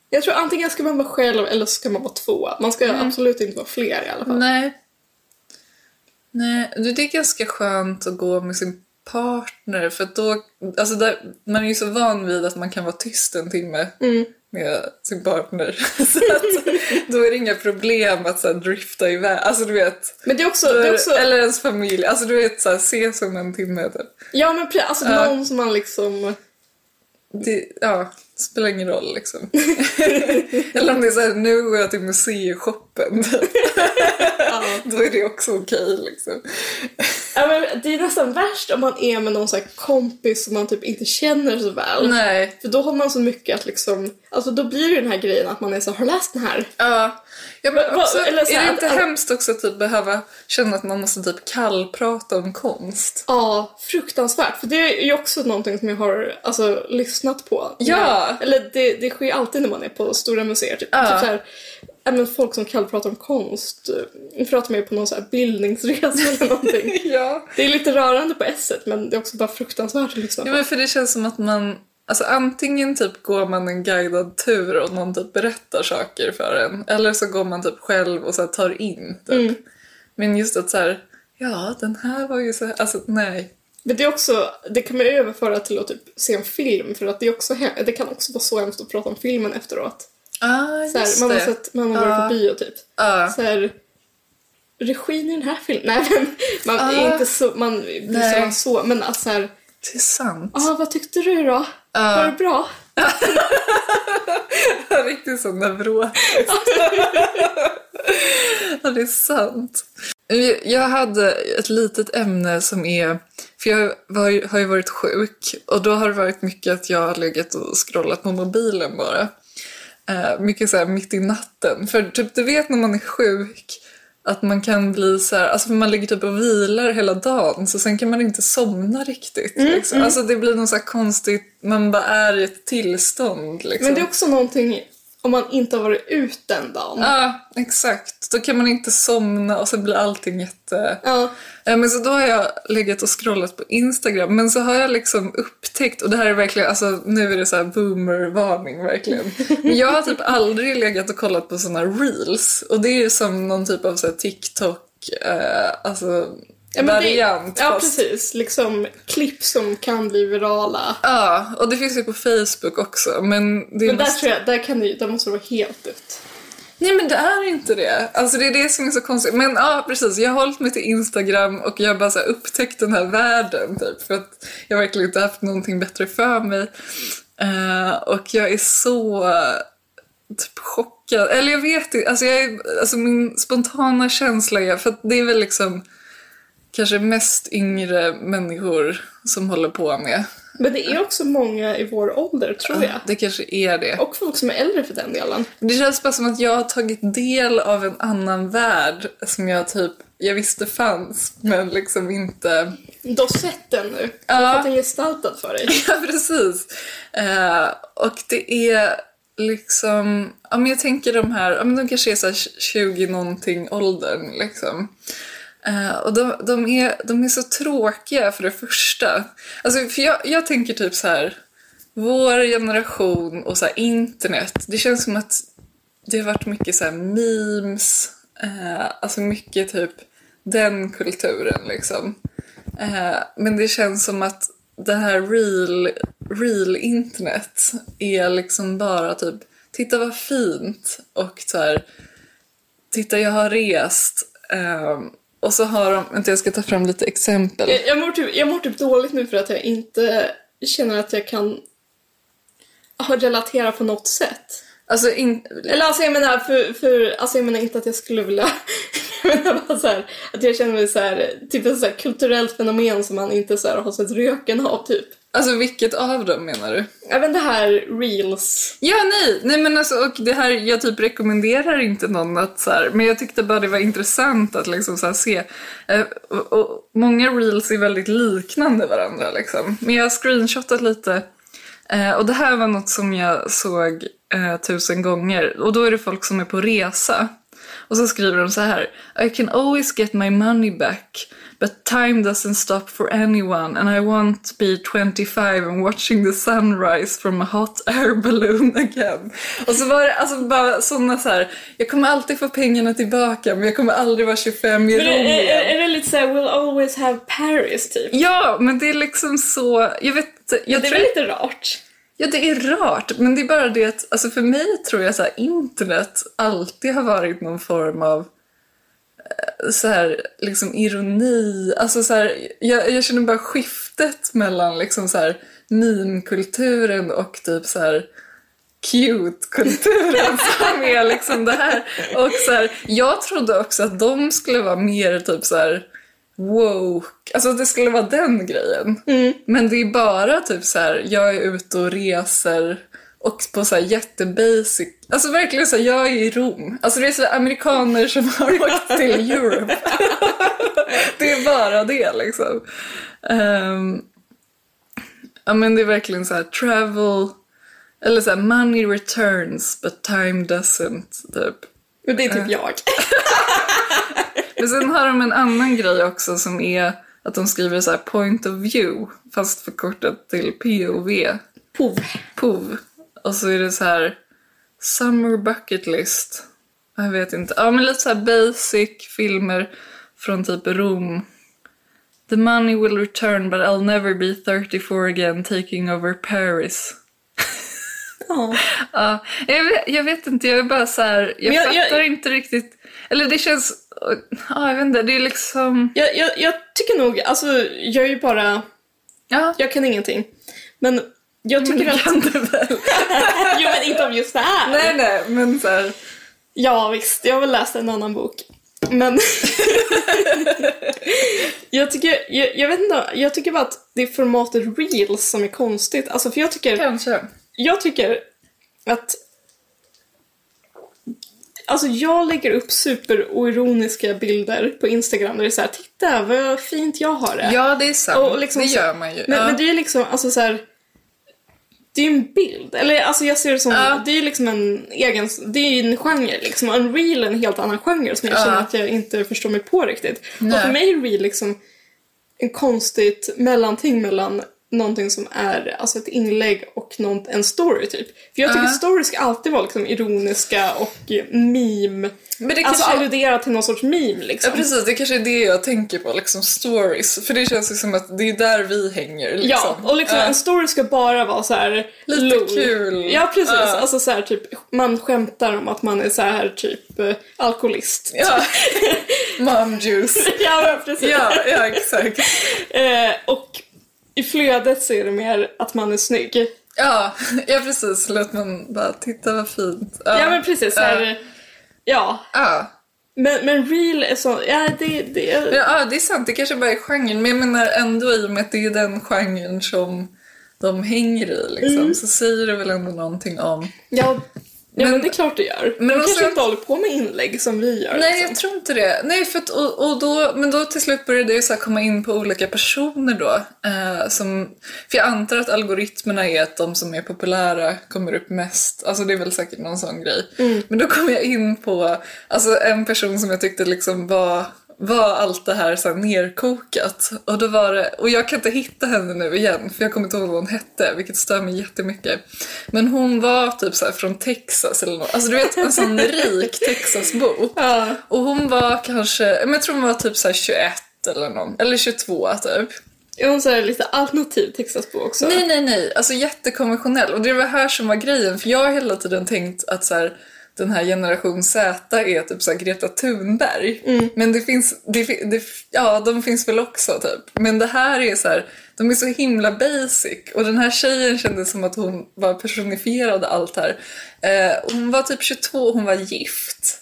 Jag tror antingen ska man vara själv eller så ska man vara två. Man ska absolut inte vara fler i alla fall. Nej. Nej, du, det är ganska skönt att gå med sin partner för att då, alltså där, man är ju så van vid att man kan vara tyst en timme Mm. med sin partner. (laughs) så att, då är det inga problem att så här, drifta iväg, alltså du vet. Men det är också... Det är också Eller ens familj, alltså du vet så här, ses om en timme. Typ. ja men precis, alltså Ja. någon som man liksom... Det ja, spelar ingen roll liksom. (laughs) Eller om det är såhär, nu går jag till museishoppen. (laughs) Då är det också okej liksom. Ja, men det är nästan värst om man är med någon så här kompis som man typ inte känner så väl. Nej. För då har man så mycket att liksom... Alltså då blir det den här grejen att man är så här, har du läst den här? Ja. ja men vad- också, eller så är här det att- inte att- hemskt också att typ behöva känna att man måste typ kallprata om konst? (laughs) Ja, fruktansvärt. För det är ju också någonting som jag har alltså, lyssnat på. Ja. Eller det, det sker ju alltid när man är på stora museer. Typ, Ja. typ så här, ja, men folk som kallpratar om konst eh, pratar med på någon så här bildningsresa (laughs) eller någonting. Ja. Det är lite rörande på ett sätt men det är också bara fruktansvärt att lyssna ja på. men för det känns som att man, alltså antingen typ går man en guidad tur och någon typ berättar saker för en. Eller så går man typ själv och så här tar in typ. Men just att så här, ja den här var ju så här, alltså nej. Men det är också, det kan man ju överföra till att typ se en film för att det, är också, he- det kan också vara så hemskt att prata om filmen efteråt. Ah, just Så här, man har det. sett, man har varit Ja. på bio typ. Ja. så här, regin i den här filmen. Nej men man är Ah. inte så, man blir Nej. så, så men alltså så här, Det är sant. ah, vad tyckte du då? Ah. Var det bra? (laughs) Riktigt sån neurotisk. ja, det är sant. Jag hade ett litet ämne som är... För jag var, ju- har ju varit sjuk och då har det varit mycket att jag har legat och scrollat på mobilen bara. Eh, mycket så här mitt i natten. För typ, du vet när man är sjuk att man kan bli så här, alltså för man ligger typ och vilar hela dagen så sen kan man inte somna riktigt. liksom. Alltså det blir något så här konstigt, man bara är i ett tillstånd liksom. Men det är också någonting om man inte har varit ut den dagen. Ja, exakt. Då kan man inte somna och så blir allting jätte... Ja. Eh, Men så då har jag legat och scrollat på Instagram, men så har jag liksom upptäckt, och det här är verkligen, alltså nu är det så här boomer-varning verkligen. Men jag har typ aldrig legat och kollat på såna reels, och det är ju som någon typ av så här TikTok, eh, alltså Ja, men det- variant. Ja fast- precis, liksom klipp som kan bli virala. Ja, och det finns ju på Facebook också, men det är Men där mest- tror jag, där kan du, där måste du vara helt ut. Nej men det är inte det. Alltså det är det som är så konstigt. Men ja precis, jag har hållit mig till Instagram och jag har bara så här upptäckt den här världen typ. För att jag verkligen inte haft någonting bättre för mig. Eh, och jag är så eh, typ chockad. Eller jag vet inte, alltså, jag är, alltså min spontana känsla är, för att det är väl liksom kanske mest yngre människor som håller på med. Men det Ah. är också många i vår ålder tror jag. Det kanske är det. Och folk som är äldre för den delen. Det känns bara som att jag har tagit del av en annan värld som jag typ, jag visste fanns men liksom inte... (laughs) Du har sett den nu. Du Ja. har fått den gestaltad för dig. Ja precis! Eh, och det är liksom, ja men jag tänker de här, ja men de kanske är såhär 20 någonting åldern liksom. Eh, och de, de, är, de är så tråkiga för det första. Alltså för jag, jag tänker typ så här. vår generation och så här internet, det känns som att det har varit mycket så här memes, eh, alltså mycket typ den kulturen liksom. Eh, men det känns som att det här real, real internet är liksom bara typ titta vad fint och så här titta jag har rest. Eh, och så har de, vänta jag ska ta fram lite exempel. Jag, jag, mår typ, jag mår typ dåligt nu för att jag inte känner att jag kan ah, relatera på något sätt. Alltså in, Eller alltså jag menar, för, för, alltså jag menar inte att jag skulle vilja... (laughs) Jag menar bara så här, att jag känner mig så här, typ ett så här kulturellt fenomen som man inte så här har sett röken av typ. alltså vilket av dem menar du? Även det här reels. Ja, nej, nej men alltså och det här, jag typ rekommenderar inte någon att så här, men jag tyckte bara det var intressant att liksom så här se. Eh, och, och många reels är väldigt liknande varandra liksom. Men jag har screenshotat lite eh, och det här var något som jag såg eh, tusen gånger och då är det folk som är på resa. Och så skriver de så här. I can always get my money back. But time doesn't stop for anyone and I won't be 25 and watching the sunrise from a hot (laughs) air balloon again. Och så var det alltså bara såna så här. Jag kommer alltid få pengarna tillbaka men jag kommer aldrig vara 25 i Men det Rom är, igen. är, är väldigt såhär, we'll always have Paris typ. Ja, men det är liksom så... Jag vet inte, jag det är tror, väl lite rart? Ja, det är rart. Men det är bara det att alltså för mig tror jag så här, internet alltid har varit någon form av eh, så här, liksom ironi. Alltså så här, jag, jag känner bara skiftet mellan liksom så här, meme-kulturen och typ så här cute-kulturen som är liksom det här. Och så här, jag trodde också att de skulle vara mer typ så här woke, alltså att det skulle vara den grejen. Men det är bara typ så här, jag är ute och reser och på så här jättebasic, alltså verkligen så här, jag är i Rom. Alltså det är så här, amerikaner som har åkt till Europe. (laughs) det är bara det liksom. Ehm, ja men det är verkligen så här travel, eller så här money returns but time doesn't typ. Men det är typ jag. Men sen har de en annan grej också som är att de skriver så här point of view fast förkortat till POV, Pov. POV. Och så är det så här summer bucket list. Jag vet inte. Ja men lite så här basic filmer från typ Rom. The money will return but I'll never be 34 again taking over Paris. Ja. Ja, jag vet, jag vet inte, jag är bara så här, jag, Men jag- jag- fattar inte riktigt. Eller det känns, ja jag vet inte, det är liksom, Jag, jag, jag tycker nog, alltså jag är ju bara, ja. jag kan ingenting. Men jag tycker det att... kan du väl? (laughs) jo men inte om just det här. Nej nej, men så här. Ja visst, jag har väl läst en annan bok. Men (laughs) jag, tycker, jag, jag vet inte, jag tycker bara att det är formatet reels som är konstigt. Alltså för jag tycker, Kanske. jag tycker att Alltså jag lägger upp superoironiska bilder på Instagram där det är såhär “Titta vad fint jag har det”. Ja det är sant, Och liksom det så- gör man ju. Men, ja. men det är ju liksom, alltså så här. Det är ju en bild, eller alltså jag ser det som, Ja. det är ju liksom en egen, det är ju en genre liksom. En reel är en helt annan genre som jag Ja. känner att jag inte förstår mig på riktigt. Nej. Och för mig är reel liksom en konstigt mellanting mellan någonting som är alltså ett inlägg och någon, en story typ. För jag tycker Ja. stories ska alltid vara liksom ironiska och meme, Men alltså det kanske- alludera till någon sorts meme liksom. Ja precis, det kanske är det jag tänker på, liksom stories. För det känns ju som att det är där vi hänger. Liksom. Ja, och liksom Ja. en story ska bara vara så här Lite lol. kul. Ja, precis. Ja. Alltså så här, typ, man skämtar om att man är så här typ eh, alkoholist. ja. (laughs) Mom juice. (laughs) ja, men precis. Ja, ja exakt. Eh, och i flödet så är det mer att man är snygg. Ja, ja precis. Låt man bara titta vad fint. Ja, men precis. Så här, eh, Ja, ja. men, men real är så... Ja, det... det Ja, ja, det är sant. Det kanske bara är genren. Men jag menar ändå i och med att det är den genren som de hänger i liksom, Mm. så säger det väl ändå någonting om... ja, ja, men, Men- det är klart det gör. men Men De också- kanske inte håller på med inlägg som vi gör. Nej, liksom. jag tror inte det. Nej, för att, och, och då, men då till slut började det ju så här komma in på olika personer då. Eh, som, för jag antar att algoritmerna är att de som är populära kommer upp mest. Alltså det är väl säkert någon sån grej. Mm. Men då kom jag in på alltså, en person som jag tyckte liksom var var allt det här så här nerkokat. Och, då var det, och jag kan inte hitta henne nu igen för jag kommer inte ihåg vad hon hette vilket stör mig jättemycket. Men hon var typ så här från Texas eller något. Alltså du vet en sån rik Texasbo. Ja. Och hon var kanske, men jag tror hon var typ så här 21 eller någon, eller 22 typ. Är hon så här lite alternativ Texasbo också? Nej, nej, nej. Alltså jättekonventionell. Och det var här som var grejen. För jag har hela tiden tänkt att så här, den här generation Z är typ så här Greta Thunberg. Men det finns, det, fi- det, ja de finns väl också typ. Men det här är så här, de är så himla basic. Och den här tjejen kändes som att hon var personifierad allt här. Eh, hon var typ 22 och hon var gift.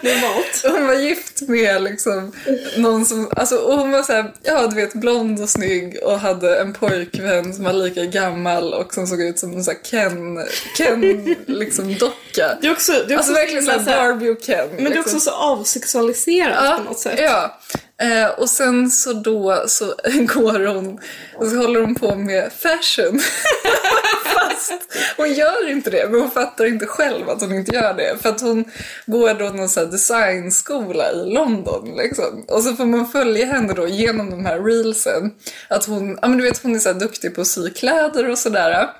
Normalt. Och Hon var gift med liksom någon som, alltså, och hon var så här, ja du vet blond och snygg och hade en pojkvän som var lika gammal och som såg ut som en sån här Ken, Ken liksom docka. Det är också, det är också Alltså verkligen himla såhär så här- Barbie och Ken. Men det är liksom. också så avsexualiserat på något sätt. Ja. Eh, och sen så då så (laughs) går hon och så håller hon på med fashion. (laughs) Fast Hon gör inte det, men hon fattar inte själv att hon inte gör det. För att hon går då någon så här designskola i London. Liksom. Och så får man följa henne då genom de här reelsen. Att hon, ja men du vet hon är så här duktig på att sy kläder och sådär.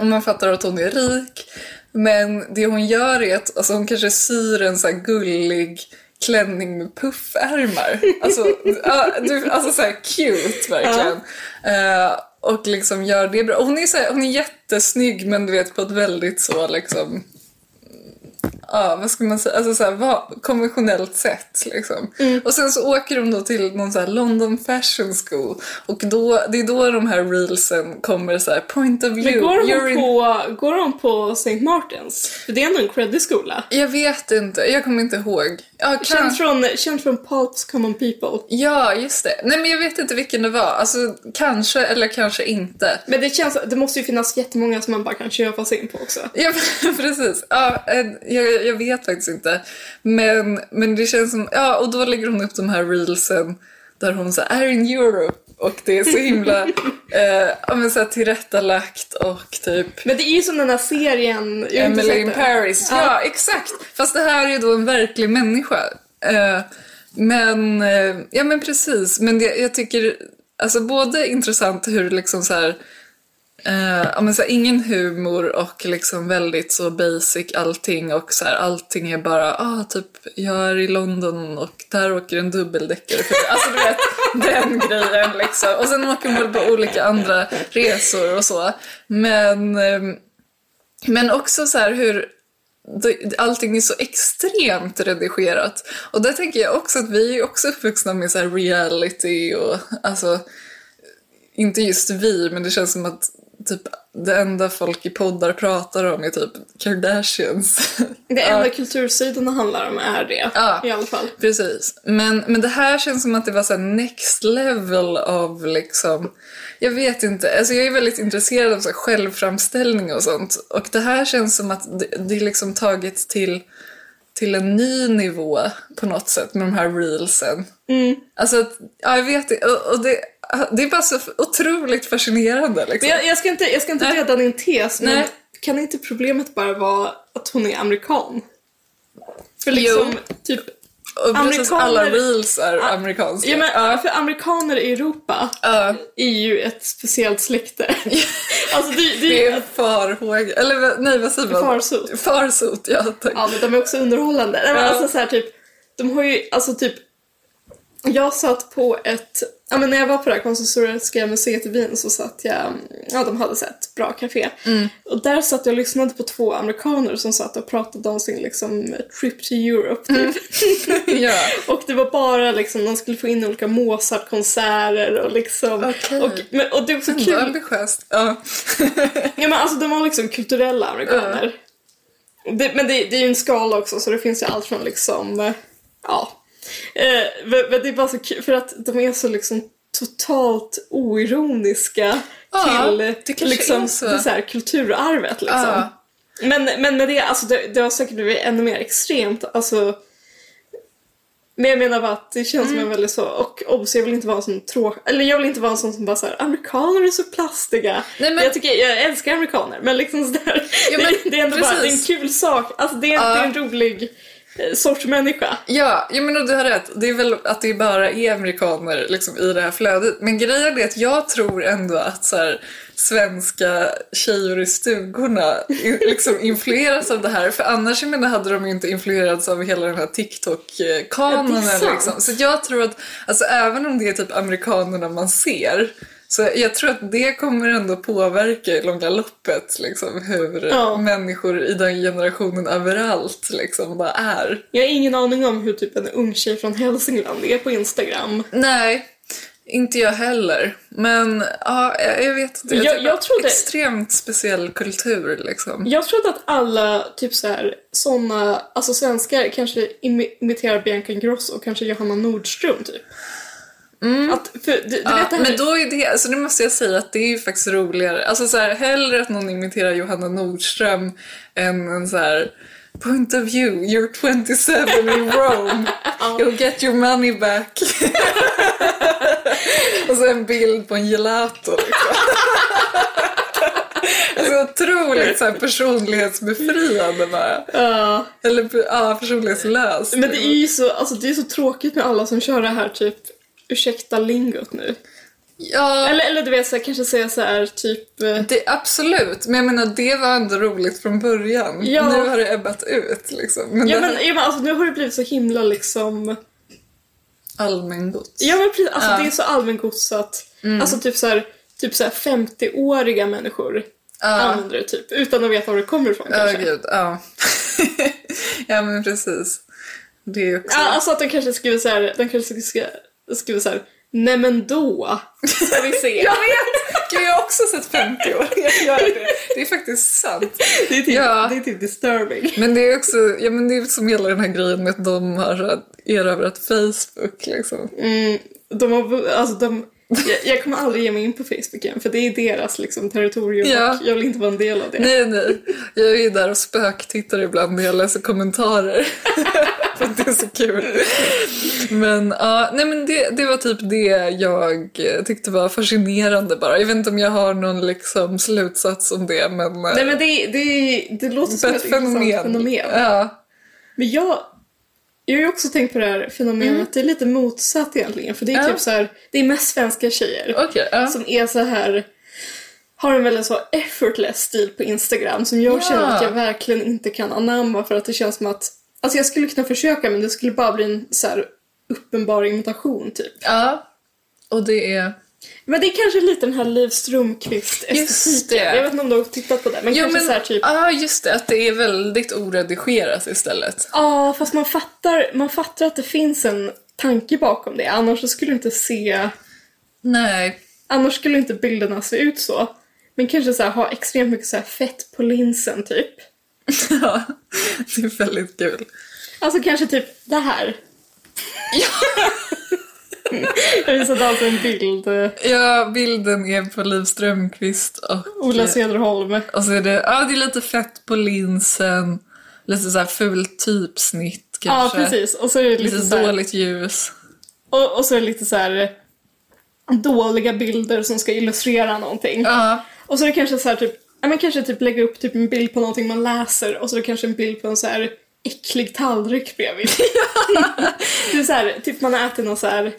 Och man fattar att hon är rik. Men det hon gör är att alltså hon kanske syr en så här gullig klänning med puffärmar. Alltså, (laughs) ja, du, alltså så här cute verkligen. Eh, och liksom gör det bra. Och Hon är, så här, hon är jättesnygg men du vet på ett väldigt så liksom... Ja, vad ska man säga? Alltså så här, va- konventionellt sätt liksom. Mm. Och sen så åker de då till någon så här London Fashion School och då, det är då de här reelsen kommer så här point of view. Men går You're hon, in- på, går hon på St. Martins? För det är ändå en creddig skola. Jag vet inte, jag kommer inte ihåg. Ja, kanske. Känd från, känd från Pulps Common People. Ja, just det. Nej, men jag vet inte vilken det var. Alltså, kanske eller kanske inte. Men det känns, det måste ju finnas jättemånga som man bara kan köpa sig in på också. Ja, (laughs) precis. Ja, eh, jag, jag vet faktiskt inte. Men, men det känns som... Ja, och då lägger hon upp de här reelsen där hon så här, är in Europe och det är så himla eh, ja, men så här, tillrättalagt och typ Men det är ju som den här serien... jag har inte Emily sett in det. Paris. Ja, exakt. Fast det här är ju då en verklig människa. Eh, men, eh, ja men precis. Men det, jag tycker, alltså både intressant hur liksom så här, eh, ja men så här, ingen humor och liksom väldigt så basic allting och så här, allting är bara, ah typ jag är i London och där åker en dubbeldäckare. förbi. Alltså du vet, (laughs) den grejen liksom. Och sen åker hon väl på olika andra resor och så. Men ehm, men också så här hur det- allting är så extremt redigerat. Och där tänker jag också att vi är ju också uppvuxna med så här reality och alltså inte just vi, men det känns som att typ det enda folk i poddar pratar om är typ Kardashians. (laughs) Det Ja. enda kultursidorna handlar om är det. Ja. I alla fall. Precis. Men, men det här känns som att det var så här next level av liksom... Jag vet inte. Alltså jag är väldigt intresserad av så här självframställning och sånt. Och det här känns som att det, det är liksom taget till, till en ny nivå på något sätt med de här reelsen. Mm. Alltså, att- ja, jag vet inte. Och, och det, det är bara så otroligt fascinerande liksom. Men jag, jag ska inte, jag ska inte Nej. rädda din tes, men Nej. kan inte problemet bara vara att hon är amerikan? För liksom, typ... och precis amerikaner- alla reels är amerikanska. Ja, men, För amerikaner i Europa Ja. är ju ett speciellt släkte. (laughs) alltså det, det, Det är är ju... farhåg... Eller vad- nej, vad säger man? Farsot. Farsot, ja tack. Ja, men de är också underhållande. Nej, men Ja. alltså så här, typ, de har ju, alltså typ... Jag satt på ett... Ja, men när jag var på det här konsistoriska museet i Wien så satt jag... Ja, de hade så här ett bra café. Och där satt jag och lyssnade på två amerikaner som satt och pratade om sin liksom trip to Europe. Typ. Ja. (laughs) Och det var bara liksom, de skulle få in olika Mozart-konserter och liksom... Okej. Och, men, och det var så Kul. kul Ambitiöst. Ja. (laughs) Ja men alltså de var liksom kulturella amerikaner. Det, men det, det är ju en skala också så det finns ju allt från liksom, eh, ja. Eh, men, men det är bara så kul för att de är så liksom totalt oironiska Ja, till det eh, kanske är liksom så. Det så här, kulturarvet liksom. Ja. Men, men med det, alltså det, det har säkert blivit ännu mer extremt, alltså men jag menar bara att det känns Mm. som en väldigt så, och obs jag vill inte vara en sån tråkig, eller jag vill inte vara en sån som bara såhär amerikaner är så plastiga. Nej, men- Jag tycker, jag älskar amerikaner men liksom sådär, Ja, men det, det är ändå bara, det är en precis. kul sak, alltså det är, Ja. det är en rolig eh, sorts människa. Ja, jag menar du har rätt. Det är väl att det bara är amerikaner liksom, i det här flödet. Men grejen är att jag tror ändå att så här, svenska tjejer i stugorna i- liksom, influeras av det här. För annars jag menar, hade de ju inte influerats av hela den här Ja, TikTok-kanonen. det är sant. liksom. Så jag tror att alltså, även om det är typ amerikanerna man ser så jag tror att det kommer ändå påverka i långa loppet liksom, hur Ja. människor i den generationen överallt liksom, bara är. Jag har ingen aning om hur typ en ung tjej från Hälsingland är på Instagram. Nej, inte jag heller. Men ja, jag jag vet inte. Jag- tycker jag trodde- Extremt speciell kultur liksom. Jag trodde att alla typ så här, såna, alltså svenskar kanske imi- imiterar Bianca Ingrosso och kanske Johanna Nordström typ. Att, för, du, du Mm. Ja, vet det här, men då är det, alltså nu måste jag säga att det är ju faktiskt roligare. Alltså så här, hellre att någon imiterar Johanna Nordström än en så här Point of view, you're 27 (laughs) in Rome. You'll get your money back. Och så en bild på en gelato. Liksom. Alltså otroligt så här personlighetsbefriande bara. Ja. Eller ja, personlighetslös. Men det är ju så, alltså, det är så tråkigt med alla som kör det här typ ursäkta lingot nu. Ja, Eller, eller du vet, så här, kanske säga så här typ... eh, det, absolut. Men jag menar, det var ändå roligt från början. Ja. Nu har det ebbat ut liksom. Men Ja det här- men, ja, men alltså, nu har det blivit så himla liksom... allmängods. Ja men precis, alltså Ja. det är så allmängods så att... Mm. Alltså typ så här, typ så här 50-åriga människor ja. använder det typ. Utan att veta var det kommer ifrån ja kanske. gud. Ja. (laughs) ja, men precis. Det är också... Ja, alltså att de kanske skriver så här, de kanske skriver, skriver så här, nej men (laughs) då ska vi se. Jag (laughs) vet! Gud, jag har också sett 50 år. Jag gör det. det är faktiskt sant. det, är typ, Ja. det är typ disturbing. Men det är också, ja men det är som hela den här grejen med att de har erövrat Facebook liksom. Mm, de har, alltså de, jag, jag kommer aldrig ge mig in på Facebook igen för det är deras liksom, territorium Ja. och jag vill inte vara en del av det. Nej, nej. Jag är ju där och spöktittar ibland när jag läser kommentarer. (laughs) För att det är så kul. Men ja, nej men det, det var typ det jag eh, tyckte var fascinerande bara. Jag vet inte om jag har någon liksom slutsats om det men... eh, Nej, men det, det, det låter bara som ett intressant fenomen. Ja. Men jag, jag har ju också tänkt på det här fenomenet, det är lite motsatt egentligen för det är Mm. Ja. typ så här, det är mest svenska tjejer. Okej, ja. som är så här har en väldigt så effortless stil på Instagram som jag Ja. känner att jag verkligen inte kan anamma för att det känns som att alltså jag skulle kunna försöka men det skulle bara bli en så här uppenbar imitation typ. ja. Och det är... Men det är kanske lite den här Liv Strömquist Just det. estetiken. Jag vet inte om du har tittat på det men Ja, kanske men, så här typ ja, just det. Att det är väldigt oredigerat istället. Ja, fast man fattar, man fattar att det finns en tanke bakom det. Annars så skulle du inte se Nej. (laughs) Annars skulle inte bilderna se ut så. Men kanske så här, ha extremt mycket så här fett på linsen typ. Ja, det är väldigt kul. Alltså kanske typ det här. (laughs) Jag visade alltså en bild. eh, Ja, bilden är på Liv Strömquist och... Ola Cederholm. Och så är det, ja, det är lite fett på linsen, lite så här fult typsnitt Ja, kanske. precis. Och så är det Lite lite så här, dåligt ljus. och, och så är det lite så här eh, dåliga bilder som ska illustrera någonting. Ja, Och så är det kanske så här typ, ja men kanske typ lägga upp typ en bild på någonting man läser och så är det kanske en bild på en så här äcklig tallrik bredvid. det är så här, typ man äter någon så här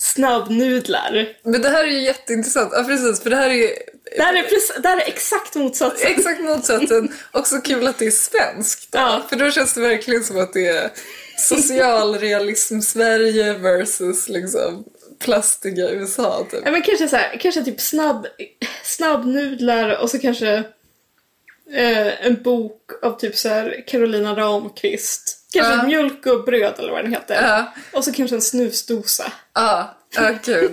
snabbnudlar. men det här är ju jätteintressant. Ja, precis, för det här är Det här är, precis, det här är exakt motsatsen. (laughs) exakt motsatsen. Också kul att det är svenskt. Ja. För då känns det verkligen som att det är socialrealism Sverige versus liksom plastiga USA, typ. Ja, men kanske så här, kanske typ snabb, snabbnudlar och så kanske eh, en bok av typ så här Carolina Ramqvist. Kanske Ja. mjölk och bröd eller vad den heter. Ja. Och så kanske en snusdosa. Ja, ja gud.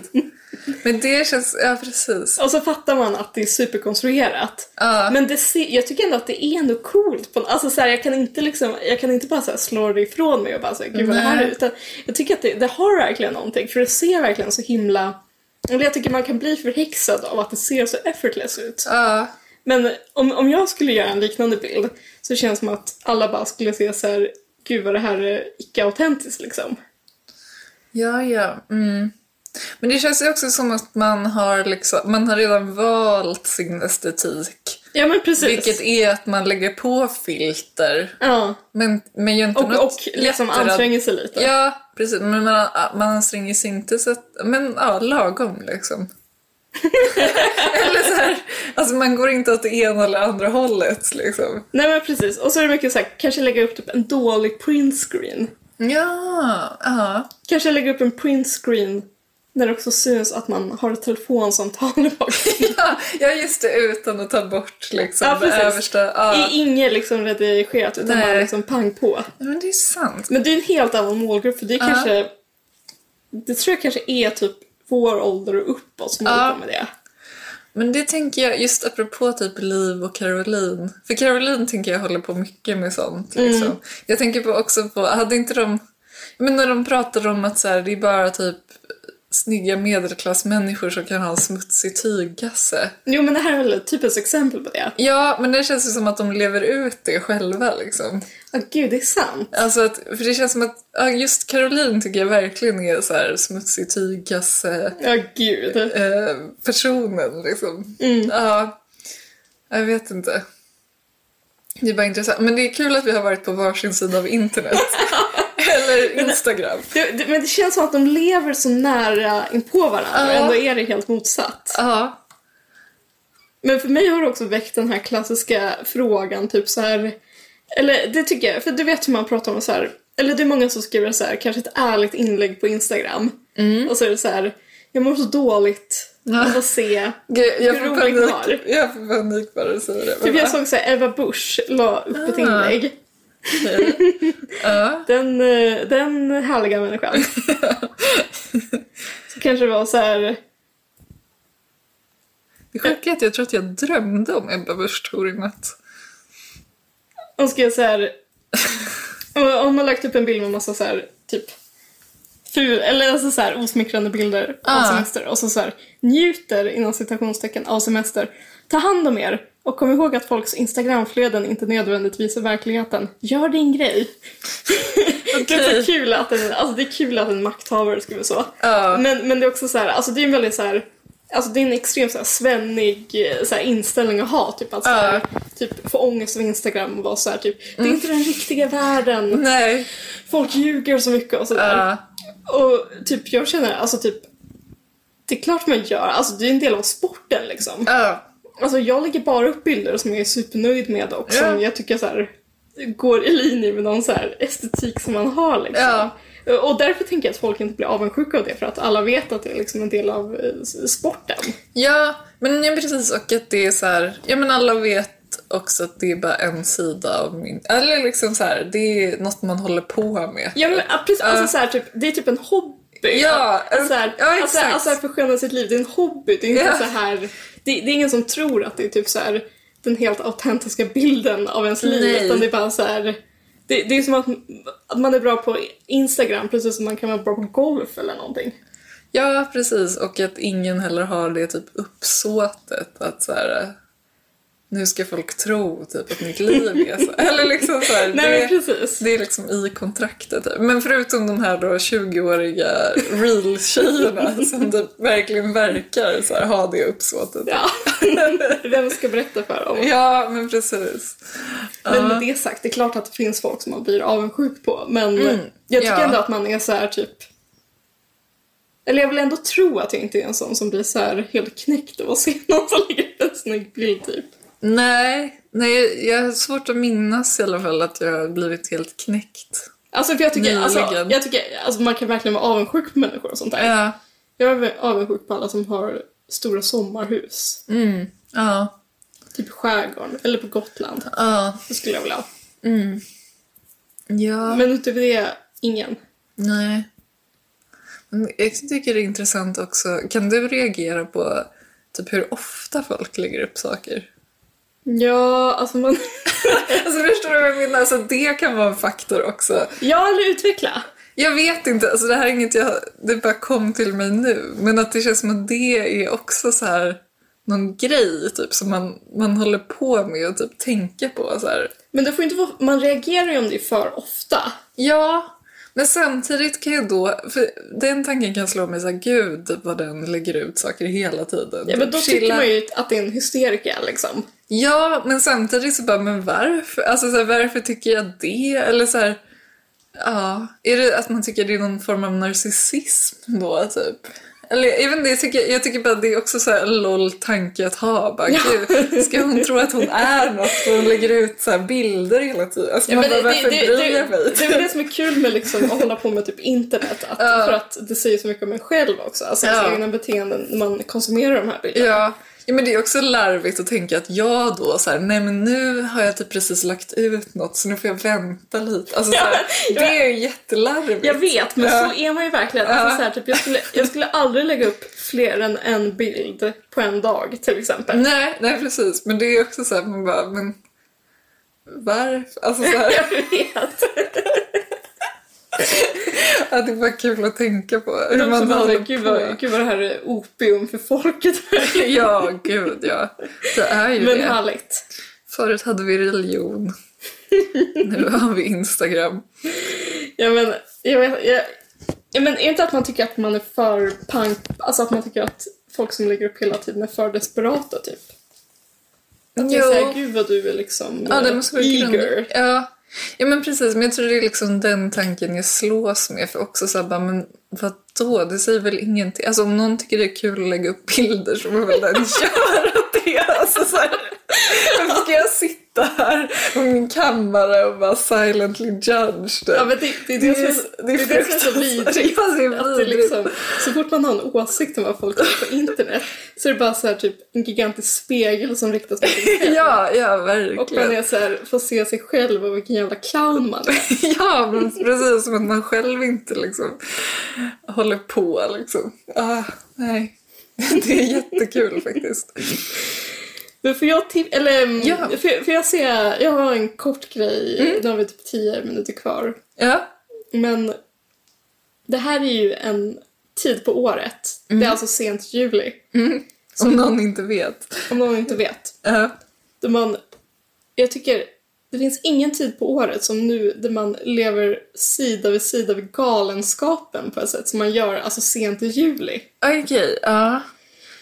Men det känns, ja precis. Och så fattar man att det är superkonstruerat. Ja. Men det ser, jag tycker ändå att det är ändå coolt. På, alltså så här, jag, kan inte liksom, jag kan inte bara så här slå det ifrån mig och bara säga gud vad det här är. Nej. Utan jag tycker att det, det har verkligen någonting. För det ser verkligen så himla... Eller jag tycker man kan bli förhäxad av att det ser så effortless ut. Ja, Men om, om jag skulle göra en liknande bild så känns det som att alla bara skulle se så här, gud vad det här är icke-autentiskt liksom. ja. ja. Mm. Men det känns ju också som att man har, liksom, man har redan valt sin estetik. Ja men precis. Vilket är att man lägger på filter. Ja. Men, men gör inte Och, något och liksom jätterad- anstränger sig lite. Ja, precis. Men man, man anstränger sig inte så att... Men ja, lagom liksom. eller så här, alltså man går inte åt det ena eller andra hållet liksom. Nej men precis. Och så är det mycket så här, kanske lägga upp typ en dålig printscreen. Ja, ja. Kanske lägga upp en printscreen när det också syns att man har ett telefonsamtal (laughs) i bakgrunden. Ja, (laughs) ja, just det, utan att ta bort liksom Ja, det precis. översta. Ja. Det är inget liksom redigerat utan Nej. bara liksom pang på. Ja, Men det är sant. Men det är en helt annan målgrupp för det är Ja. kanske... Det tror jag kanske är typ vår ålder och uppåt som Ja. håller på med det. Men det tänker jag, just apropå typ Liv och Caroline. För Caroline tänker jag håller på mycket med sånt. Liksom. Jag tänker på också på, hade inte de... Men när de pratar om att så här, det är bara typ snygga medelklassmänniskor som kan ha en smutsig tyggasse. Jo men det här är väl typ ett typiskt exempel på det. Ja, men det känns ju som att de lever ut det själva liksom. Ja gud, det är sant. Alltså att, för det känns som att ja, just Caroline tycker jag verkligen är så här smutsig tyggasse. Ja gud. Mm. eh, personen liksom. Ja. Jag vet inte. Det är bara intressant. Men det är kul att vi har varit på varsin sida av internet. (laughs) Eller Instagram. Det, det, men det känns som att de lever så nära inpå varandra Ja. och ändå är det helt motsatt. Ja. Men för mig har det också väckt den här klassiska frågan, typ så här... Eller det tycker jag, för du vet hur man pratar om så här... Eller det är många som skriver så här, kanske ett ärligt inlägg på Instagram. Mm. Och så är det så här, jag mår så dåligt Ja. av att se... Gud, jag Hur får rolig panik. var. Jag får panik bara du säger det. Typ jag såg så här, Eva Busch la upp ett inlägg. Ja. (laughs) Den, eh, den härliga människan. så kanske det var så här... Det sjuka är att jag tror att jag drömde om Ebba Busch Thor i natt. Hon skrev så här... (laughs) Om- Om man lagt upp en bild med massa så här, typ ful, eller alltså så här osmickrande bilder av Ah. semester och så, så här njuter inom citationstecken av semester. Ta hand om er och kom ihåg att folks instagramflöden inte nödvändigtvis är verkligheten. Gör din grej. (laughs) Det är Okej. så kul att en, alltså det är kul att en makthavare skriver så. Ja. Men, men det är också så här, alltså det är en väldigt så här, alltså det är en extremt så här svennig eh, så här inställning att ha. Typ att så här, typ få ångest av Instagram och vara så här typ, Mm. det är inte den riktiga världen. Nej. Folk ljuger så mycket och sådär. Ja. Och typ jag känner, alltså typ, det är klart man gör, alltså det är en del av sporten liksom. Ja. Alltså jag lägger bara upp bilder som jag är supernöjd med och som Ja. jag tycker så här går i linje med någon så här estetik som man har liksom. Och därför tänker jag att folk inte blir avundsjuka av det för att alla vet att det är liksom en del av eh, s- sporten. Ja, men ja, precis. Och att det är så här... Ja, men alla vet också att det är bara en sida av min... Eller liksom så här, det är något man håller på med. Ja men ja, precis, Ja. alltså så här, typ, det är typ en hobby. Ja, alltså, så här, ja, alltså, exakt. alltså att försköna sitt liv, det är en hobby. Det är inte Ja. så här, det, det är ingen som tror att det är typ så här den helt autentiska bilden av ens liv Nej. utan det är bara så här det, det är som att, att man är bra på Instagram precis som man kan vara bra på golf eller någonting. Ja, precis. Och att ingen heller har det typ uppsåtet att så här... eh, Nu ska folk tro typ att mitt liv (laughs) är så. Eller liksom så här, Nej det- men precis. Det är liksom i kontraktet. typ. Men förutom de här då 20-åriga (laughs) real-tjejerna som typ verkligen verkar så här, ha det uppsåtet. Ja. (laughs) Vem ska berätta för dem? Ja, men precis. Men med det sagt, det är klart att det finns folk som man blir avundsjuk på. Men jag tycker Mm, ja. ändå att man är så här typ... Eller jag vill ändå tro att jag inte är en sån som blir så här helt knäckt av att se (laughs) någon som lägger upp en snygg bild typ. Nej, nej, jag har svårt att minnas i alla fall att jag har blivit helt knäckt. Alltså för jag tycker, alltså, Nyligen. jag tycker alltså, man kan verkligen vara avundsjuk på människor och sånt där. Ja, Jag är avundsjuk på alla som har stora sommarhus. ja, Typ i skärgården eller på Gotland. ja, Det skulle jag vilja ha. ja, Men utöver det, ingen. nej. Men jag tycker det är intressant också, kan du reagera på typ hur ofta folk lägger upp saker? (laughs) Ja, alltså man... Alltså förstår du vad jag menar? Alltså, det kan vara en faktor också. ja, eller utveckla. Jag vet inte, alltså det här är inget jag... Det bara kom till mig nu. Men att det känns som att det är också så här någon grej typ som man, man håller på med och typ tänker på så här. Men det får inte vara, man reagerar ju om det är för ofta. Ja, men samtidigt kan jag då... För den tanken kan slå mig så här, gud typ vad den lägger ut saker hela tiden. Ja, men då Typ, tycker chilla. man ju att det är en hysteriker liksom. Ja, men samtidigt så bara, men varför? Alltså så här, varför tycker jag det? Eller så här, ja, är det att man tycker det är någon form av narcissism då typ? Eller jag vet inte, jag tycker, jag tycker bara att det är också så här en loll tanke att ha. Bara, Ja. Gud, ska hon tro att hon är något? Och hon lägger ut så här bilder hela tiden. Alltså, man bara, varför bryr jag mig? det är väl det som är kul med liksom, att hålla på med typ internet. (laughs) Att, För att det säger så mycket om en själv också. Alltså ens Ja. egna beteenden när man konsumerar de här bilderna. Ja. ja, men det är också larvigt att tänka att jag då så här, nej men nu har jag typ precis lagt ut något så nu får jag vänta lite. Alltså, så här, Ja, det är ju jättelarvigt. Jag vet, men Ja. så är man ju verkligen. Alltså, så här, typ, jag, skulle, jag skulle aldrig lägga upp fler än en bild på en dag till exempel. Nej, nej precis. Men det är också så här, man bara, men varför? Alltså så (laughs) här, Jag vet. att det är bara kul att tänka på hur De man som håller bara, på. gud vad, gud vad det här är opium för (laughs) folket. Ja, gud ja. Det är ju Men det. härligt. Förut hade (laughs) vi religion. nu har vi Instagram. Ja men, jag vet, jag, ja, men är inte att man tycker att man är för punk, alltså att man tycker att folk som lägger upp hela tiden är för desperata typ? Att jag Jo. säger gud vad du är liksom Ja, eh, den måste vara grund. eager. Ja. ja, men precis. Men jag tror det är liksom den tanken jag slås med. För också så här, bara, men vadå? Det säger väl ingenting. Alltså om någon tycker det är kul att lägga upp bilder så får väl den (laughs) göra det. Alltså så här. Varför ska jag sitta här på min kammare och bara silently judge det? Ja, men det, det, är det, är- som, det, är det som är så fruktansvärt. vidrigt. Ja, det är Att det vidrigt. liksom, så fort man har en åsikt om vad folk gör på internet så är det bara så här, typ en gigantisk spegel som riktas mot en själv. (laughs) Ja, ja, Och man verkligen. är så här, får se sig själv och vilken jävla clown man är. (laughs) Ja, men precis. Som att man själv inte liksom håller på liksom. Ah, nej. (laughs) Det är jättekul faktiskt. Men får jag tip- eller mm, Ja. Mm. får, får jag se, jag har en kort grej, nu har vi typ 10 minuter kvar. Ja. Men det här är ju en tid på året, Mm. det är alltså sent juli, Som någon inte vet. om någon inte vet. Ja. Där man, jag tycker det finns ingen tid på året som nu där man lever sida vid sida vid galenskapen på ett sätt som man gör alltså sent i juli. Okej, ja.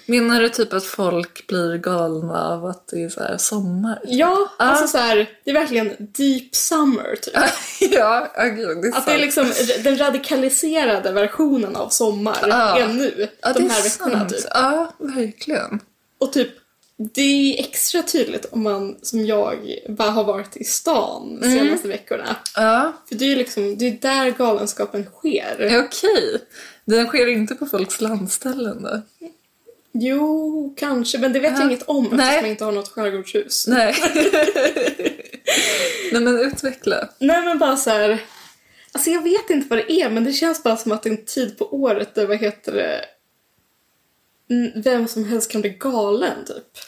Menar du typ att folk blir galna av att det är så här sommar? (laughs) Ja, Ja. alltså så här, det är verkligen deep summer typ. ja, ja, gud, det är sant. Att det är liksom den radikaliserade versionen av sommar Ja. är nu, ja, de det är här veckorna sant. typ. Ja, verkligen. Och typ, det är extra tydligt om man som jag bara har varit i stan de Mm. senaste veckorna. Ja, För det är ju liksom, det är där galenskapen sker. okej. Den sker inte på folks landställen då? Jo, kanske. Men det vet Ja. jag inget om Nej. eftersom jag inte har något skärgårdshus. Nej, Nej. (laughs) Nej, men utveckla. men bara så här... Alltså jag vet inte vad det är, men det känns bara som att det är en tid på året där, vad heter det, Mm, vem som helst kan bli galen typ.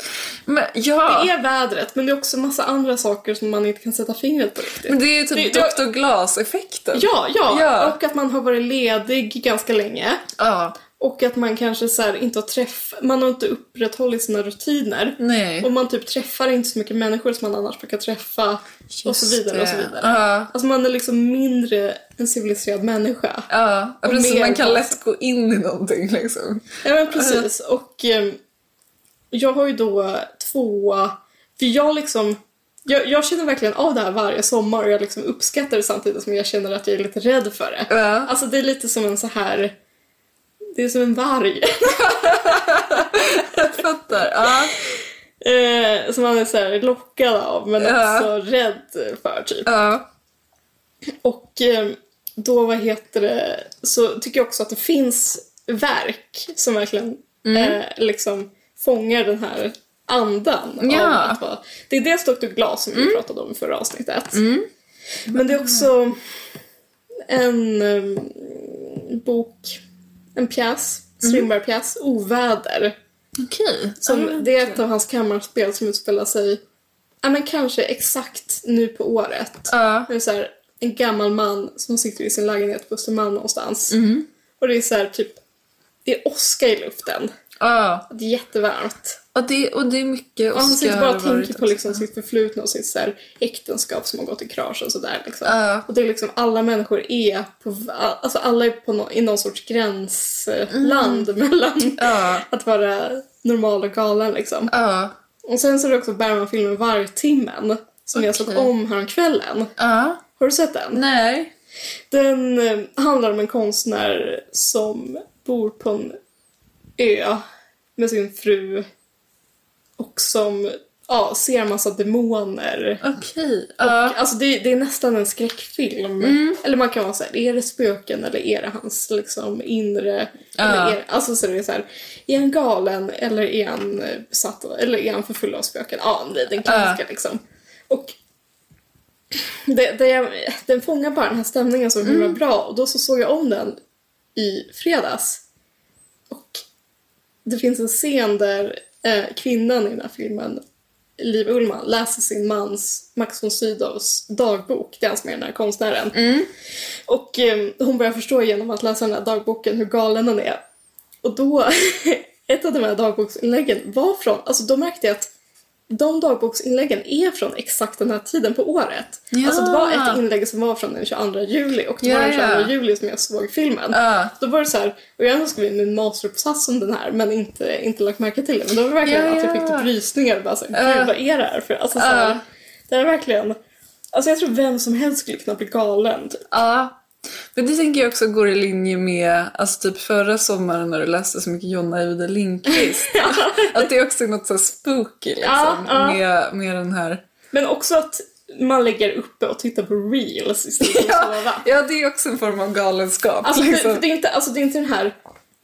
Men, ja. Det är vädret, men det är också massa andra saker som man inte kan sätta fingret på riktigt. Men det är ju typ Det- det- Dr. Glass-effekten. Ja, ja, Ja. Och att man har varit ledig ganska länge. Ja. Och att man kanske så här inte har träff... Man har inte upprätthållit sina rutiner. Nej. Och man typ träffar inte så mycket människor som man annars brukar träffa. och så Just vidare och så det. vidare. Ja. Alltså man är liksom mindre en civiliserad människa. Ja, ja precis. mer Man kan gas. lätt gå in i någonting liksom. Ja men precis. Och ehm, jag har ju då två... För jag liksom... Jag, jag känner verkligen av det här varje sommar och jag liksom uppskattar det samtidigt som jag känner att jag är lite rädd för det. Ja. Alltså det är lite som en så här... Det är som en varg. (laughs) Jag fattar. Ja. eh, som man är så här lockad av men Ja. också rädd för typ. Ja. Och eh, då, vad heter det, så tycker jag också att det finns verk som verkligen eh, liksom fångar den här andan. Ja. Av att vara, det är dels Dr. Glas som vi pratade om i förra avsnittet. Men det är också en eh, bok, en pjäs, Strindberg-pjäs, Oväder. Okej. Som, Ja. Det är ett av hans kammarspel som utspelar sig ja, men kanske exakt nu på året. Ja. Det är så här, en gammal man som sitter i sin lägenhet på Östermalm någonstans. Mhm. Och det är så här, typ, det är åska i luften. Ja. Det är jättevarmt. Och det, och det är mycket Och han Oscar sitter bara och har varit tänker på också. liksom sitt förflutna och sitt så här, äktenskap som har gått i krasch och sådär. Liksom. Ja. Och det är liksom alla människor är på, alltså alla är på nå- i någon sorts gränsland mellan Mm. (laughs) Ja. att vara normal och galen liksom. Ja. Och sen så är det också Bergman-filmen Vargtimmen som jag såg Okej. om häromkvällen. Ja. Har du sett den? Nej. Den eh, handlar om en konstnär som bor på en ö med sin fru och som ja, ser en massa demoner. Okej. Ja. Mm. Alltså det, det är nästan en skräckfilm. Eller man kan vara såhär, är det spöken eller är det hans liksom inre... Eller Ja. är, alltså så det är såhär, är han galen eller är han eh, besatt av, eller är han för full av spöken? Ja, det är den klassiska liksom. Och det, det, den fångar bara den här stämningen så himla Mm. bra och då så såg jag om den i fredags. Och det finns en scen där eh, kvinnan i den här filmen, Liv Ullman, läser sin mans, Max von Sydows, dagbok. Det är han som är den här konstnären. Mm. Och eh, hon börjar förstå genom att läsa den här dagboken hur galen han är. (laughs) Och då, ett av de här dagboksinläggen var från, alltså då märkte jag att de dagboksinläggen är från exakt den här tiden på året. Ja. Alltså det var ett inlägg som var från den 22 juli och det var den Ja, ja. 22 juli som jag såg filmen. Ja. Då var det så här, och jag har ändå skrivit min masteruppsats om den här men inte, inte lagt märke till det. Men då var det verkligen Ja, att jag ja. fick typ rysningar och bara så här, Ja. gud vad är det här för? Alltså, så här, Ja. Det är verkligen, alltså jag tror vem som helst skulle kunna bli galen typ. Ja. Men det tänker jag också går i linje med, alltså typ förra sommaren när du läste så mycket Jonna Ida Lindqvist. att det är också är något så här spooky liksom, Ja, ja. Med, med den här. (laughs) Men också att man lägger uppe och tittar på reels istället för att sova. Ja, ja, det är också en form av galenskap. Alltså, liksom. det, det, är inte, alltså det är inte den här...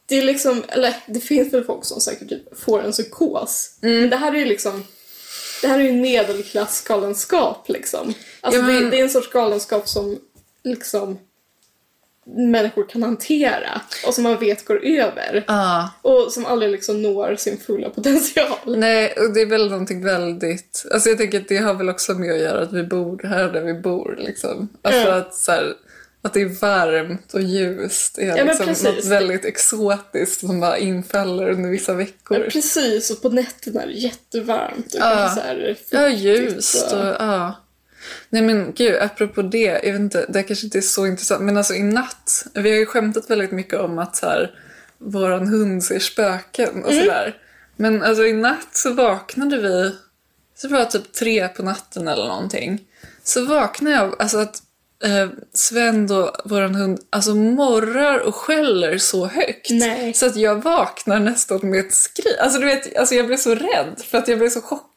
Det är liksom, eller det finns väl folk som säkert typ får en psykos. Mm. Men det här är ju liksom... Det här är ju medelklassgalenskap liksom. Alltså Ja, men- det, det är en sorts galenskap som liksom människor kan hantera och som man vet går över. Ja. Och som aldrig liksom når sin fulla potential. Nej, och det är väl någonting väldigt... Alltså jag tänker att det har väl också med att göra att vi bor här där vi bor. Liksom. Alltså Ja. att, så här, att det är varmt och ljust. Det är Ja, men liksom något precis. väldigt exotiskt som bara infaller under vissa veckor. Men precis, och på nätterna är det jättevarmt. Och Ja. kanske så här Ja, fuktigt ljust och ja. Nej men gud, apropå det, jag vet inte, det kanske inte är så intressant, men alltså i natt, vi har ju skämtat väldigt mycket om att så här, våran hund ser spöken och sådär. Men alltså i natt så vaknade vi, så det var typ tre på natten eller någonting. Så vaknade jag, alltså att eh, Sven då, våran hund, alltså morrar och skäller så högt. Nej. Så att jag vaknar nästan med ett skri. Alltså du vet, alltså jag blev så rädd för att jag blev så chockad.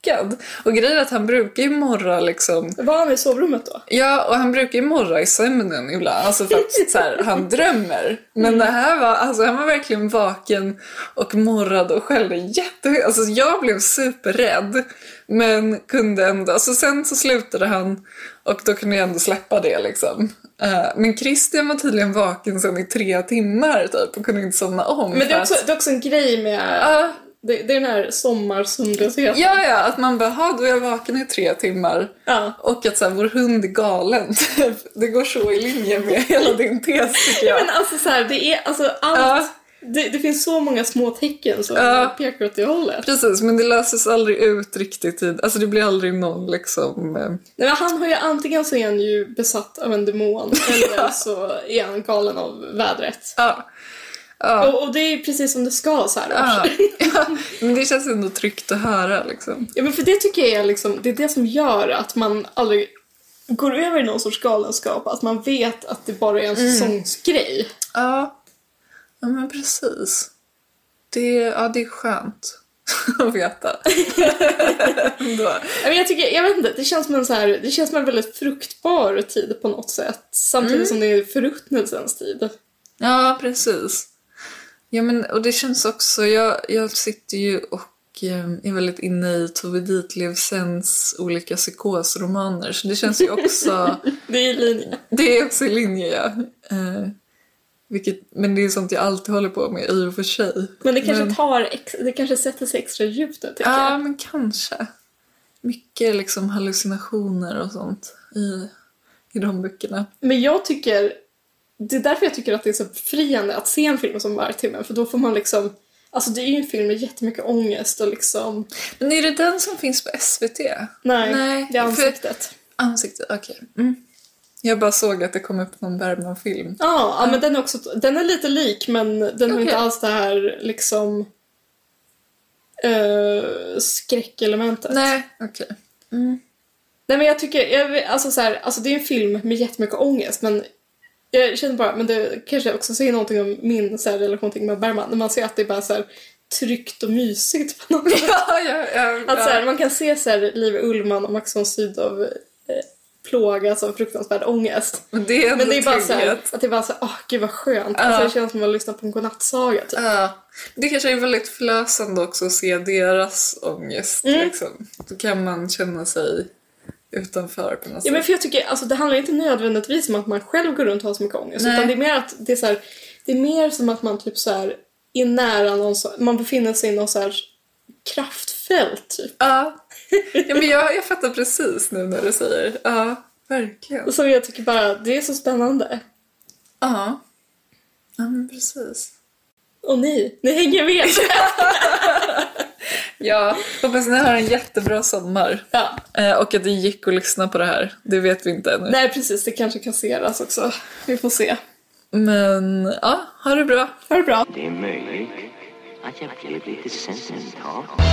Och grejen är att han brukar ju morra liksom Var han i sovrummet då? Ja, och han brukar ju morra i sömnen ibland, alltså för att så här, (laughs) han drömmer. Mm. Men det här var, alltså han var verkligen vaken och morrade och skällde jättehögt. Alltså jag blev superrädd, men kunde ändå, alltså sen så slutade han och då kunde jag ändå släppa det liksom. Eh, Men Christian var tydligen vaken sen i tre timmar typ och kunde inte somna om. Men det för är, också, att- det är också en grej med... Ja. Det, det är den här sommarsömnlösheten. Ja, ja, att man bara, "Ha, då är jag vaken i tre timmar. Ja. Och att så här, vår hund är galen. (laughs) typ. Det går så i linje med hela din tes tycker jag. Men alltså så här, det är alltså allt. Ja. Det, det finns så många små tecken som Ja. pekar åt det hållet. Precis, men det löses aldrig ut riktigt. i- Alltså det blir aldrig någon liksom... eh, Nej, men han har ju antingen så är han ju besatt av en (laughs) demon eller så är han galen av vädret. Ja. Och, och det är ju precis som det ska så här års. Ja. (laughs) ja. Men det känns ändå tryggt att höra liksom. Ja, men för det tycker jag är liksom, det är det som gör att man aldrig går över i någon sorts galenskap. Att man vet att det bara är en Mm. säsongsgrej. Ja. Ja men precis. Det, ja, det är skönt (laughs) att veta. (laughs) Ändå. Ja, men jag, tycker, jag vet inte, det känns, som en så här, det känns som en väldigt fruktbar tid på något sätt. Samtidigt Mm. som det är förruttnelsens tid. Ja, precis. Ja, men, och det känns också... Jag, jag sitter ju och eh, är väldigt inne i Tove Ditlevsens olika psykosromaner, så det känns (laughs) ju också... Det är i linje. det är också i linje, ja. Eh, vilket, men det är sånt jag alltid håller på med i och för sig. Men det kanske, Tar ex, det kanske sätter sig extra djupt nu, tycker Ja, jag. men kanske. Mycket liksom hallucinationer och sånt i, i de böckerna. Men jag tycker... Det är därför jag tycker att det är så befriande att se en film som Vargtimmen, för då får man liksom... Alltså det är ju en film med jättemycket ångest och liksom... Men är det den som finns på SVT? Nej, det är för- ansiktet. Ansikte, okej. Mm. Jag bara såg att det kom upp någon Bergman-film. Ja, ja, men den är också... Den är lite lik, men den har Okej. inte alls det här liksom... eh, skräckelementet. Nej, okej. (laughs) Nej men jag tycker, jag, alltså, så här, alltså det är en film med jättemycket ångest men jag känner bara, men det kanske också säger någonting om min så här, relation till Ingmar Bergman, när man ser att det är bara så här, tryggt och mysigt på något sätt. Ja, ja, ja. Att så ja. här, man kan se så här, Liv Ullman och Max von Sydow eh, plågas av fruktansvärd ångest. Men det är ändå Men det är bara så här, trygghet. att det är bara så här, åh gud vad skönt. Alltså, det känns som att lyssna på en godnattsaga typ. Ja. Det kanske är väldigt förlösande också att se deras ångest. Mm. Liksom. Då kan man känna sig utanför på något sätt. Ja, men för jag tycker, alltså, det handlar inte nödvändigtvis om att man själv går runt och har så mycket ångest. Nej. Utan det är mer att det är, så här, det är mer som att man typ så här, är nära någon, så, man befinner sig i någon så här kraftfält typ. Ja. ja, men jag, jag fattar precis nu när du säger. Ja, verkligen. Som jag tycker bara, det är så spännande. Ja. Ja, men precis. Och ni, ni hänger med! Ja, hoppas ni har en jättebra sommar. Ja. Eh, och att det gick att lyssna på det här. Det vet vi inte ännu. Nej, precis. Det kanske kasseras också. Vi får se. Men ja, ha det bra. Ha det bra. Det är möjligt att jag blev lite sentimental.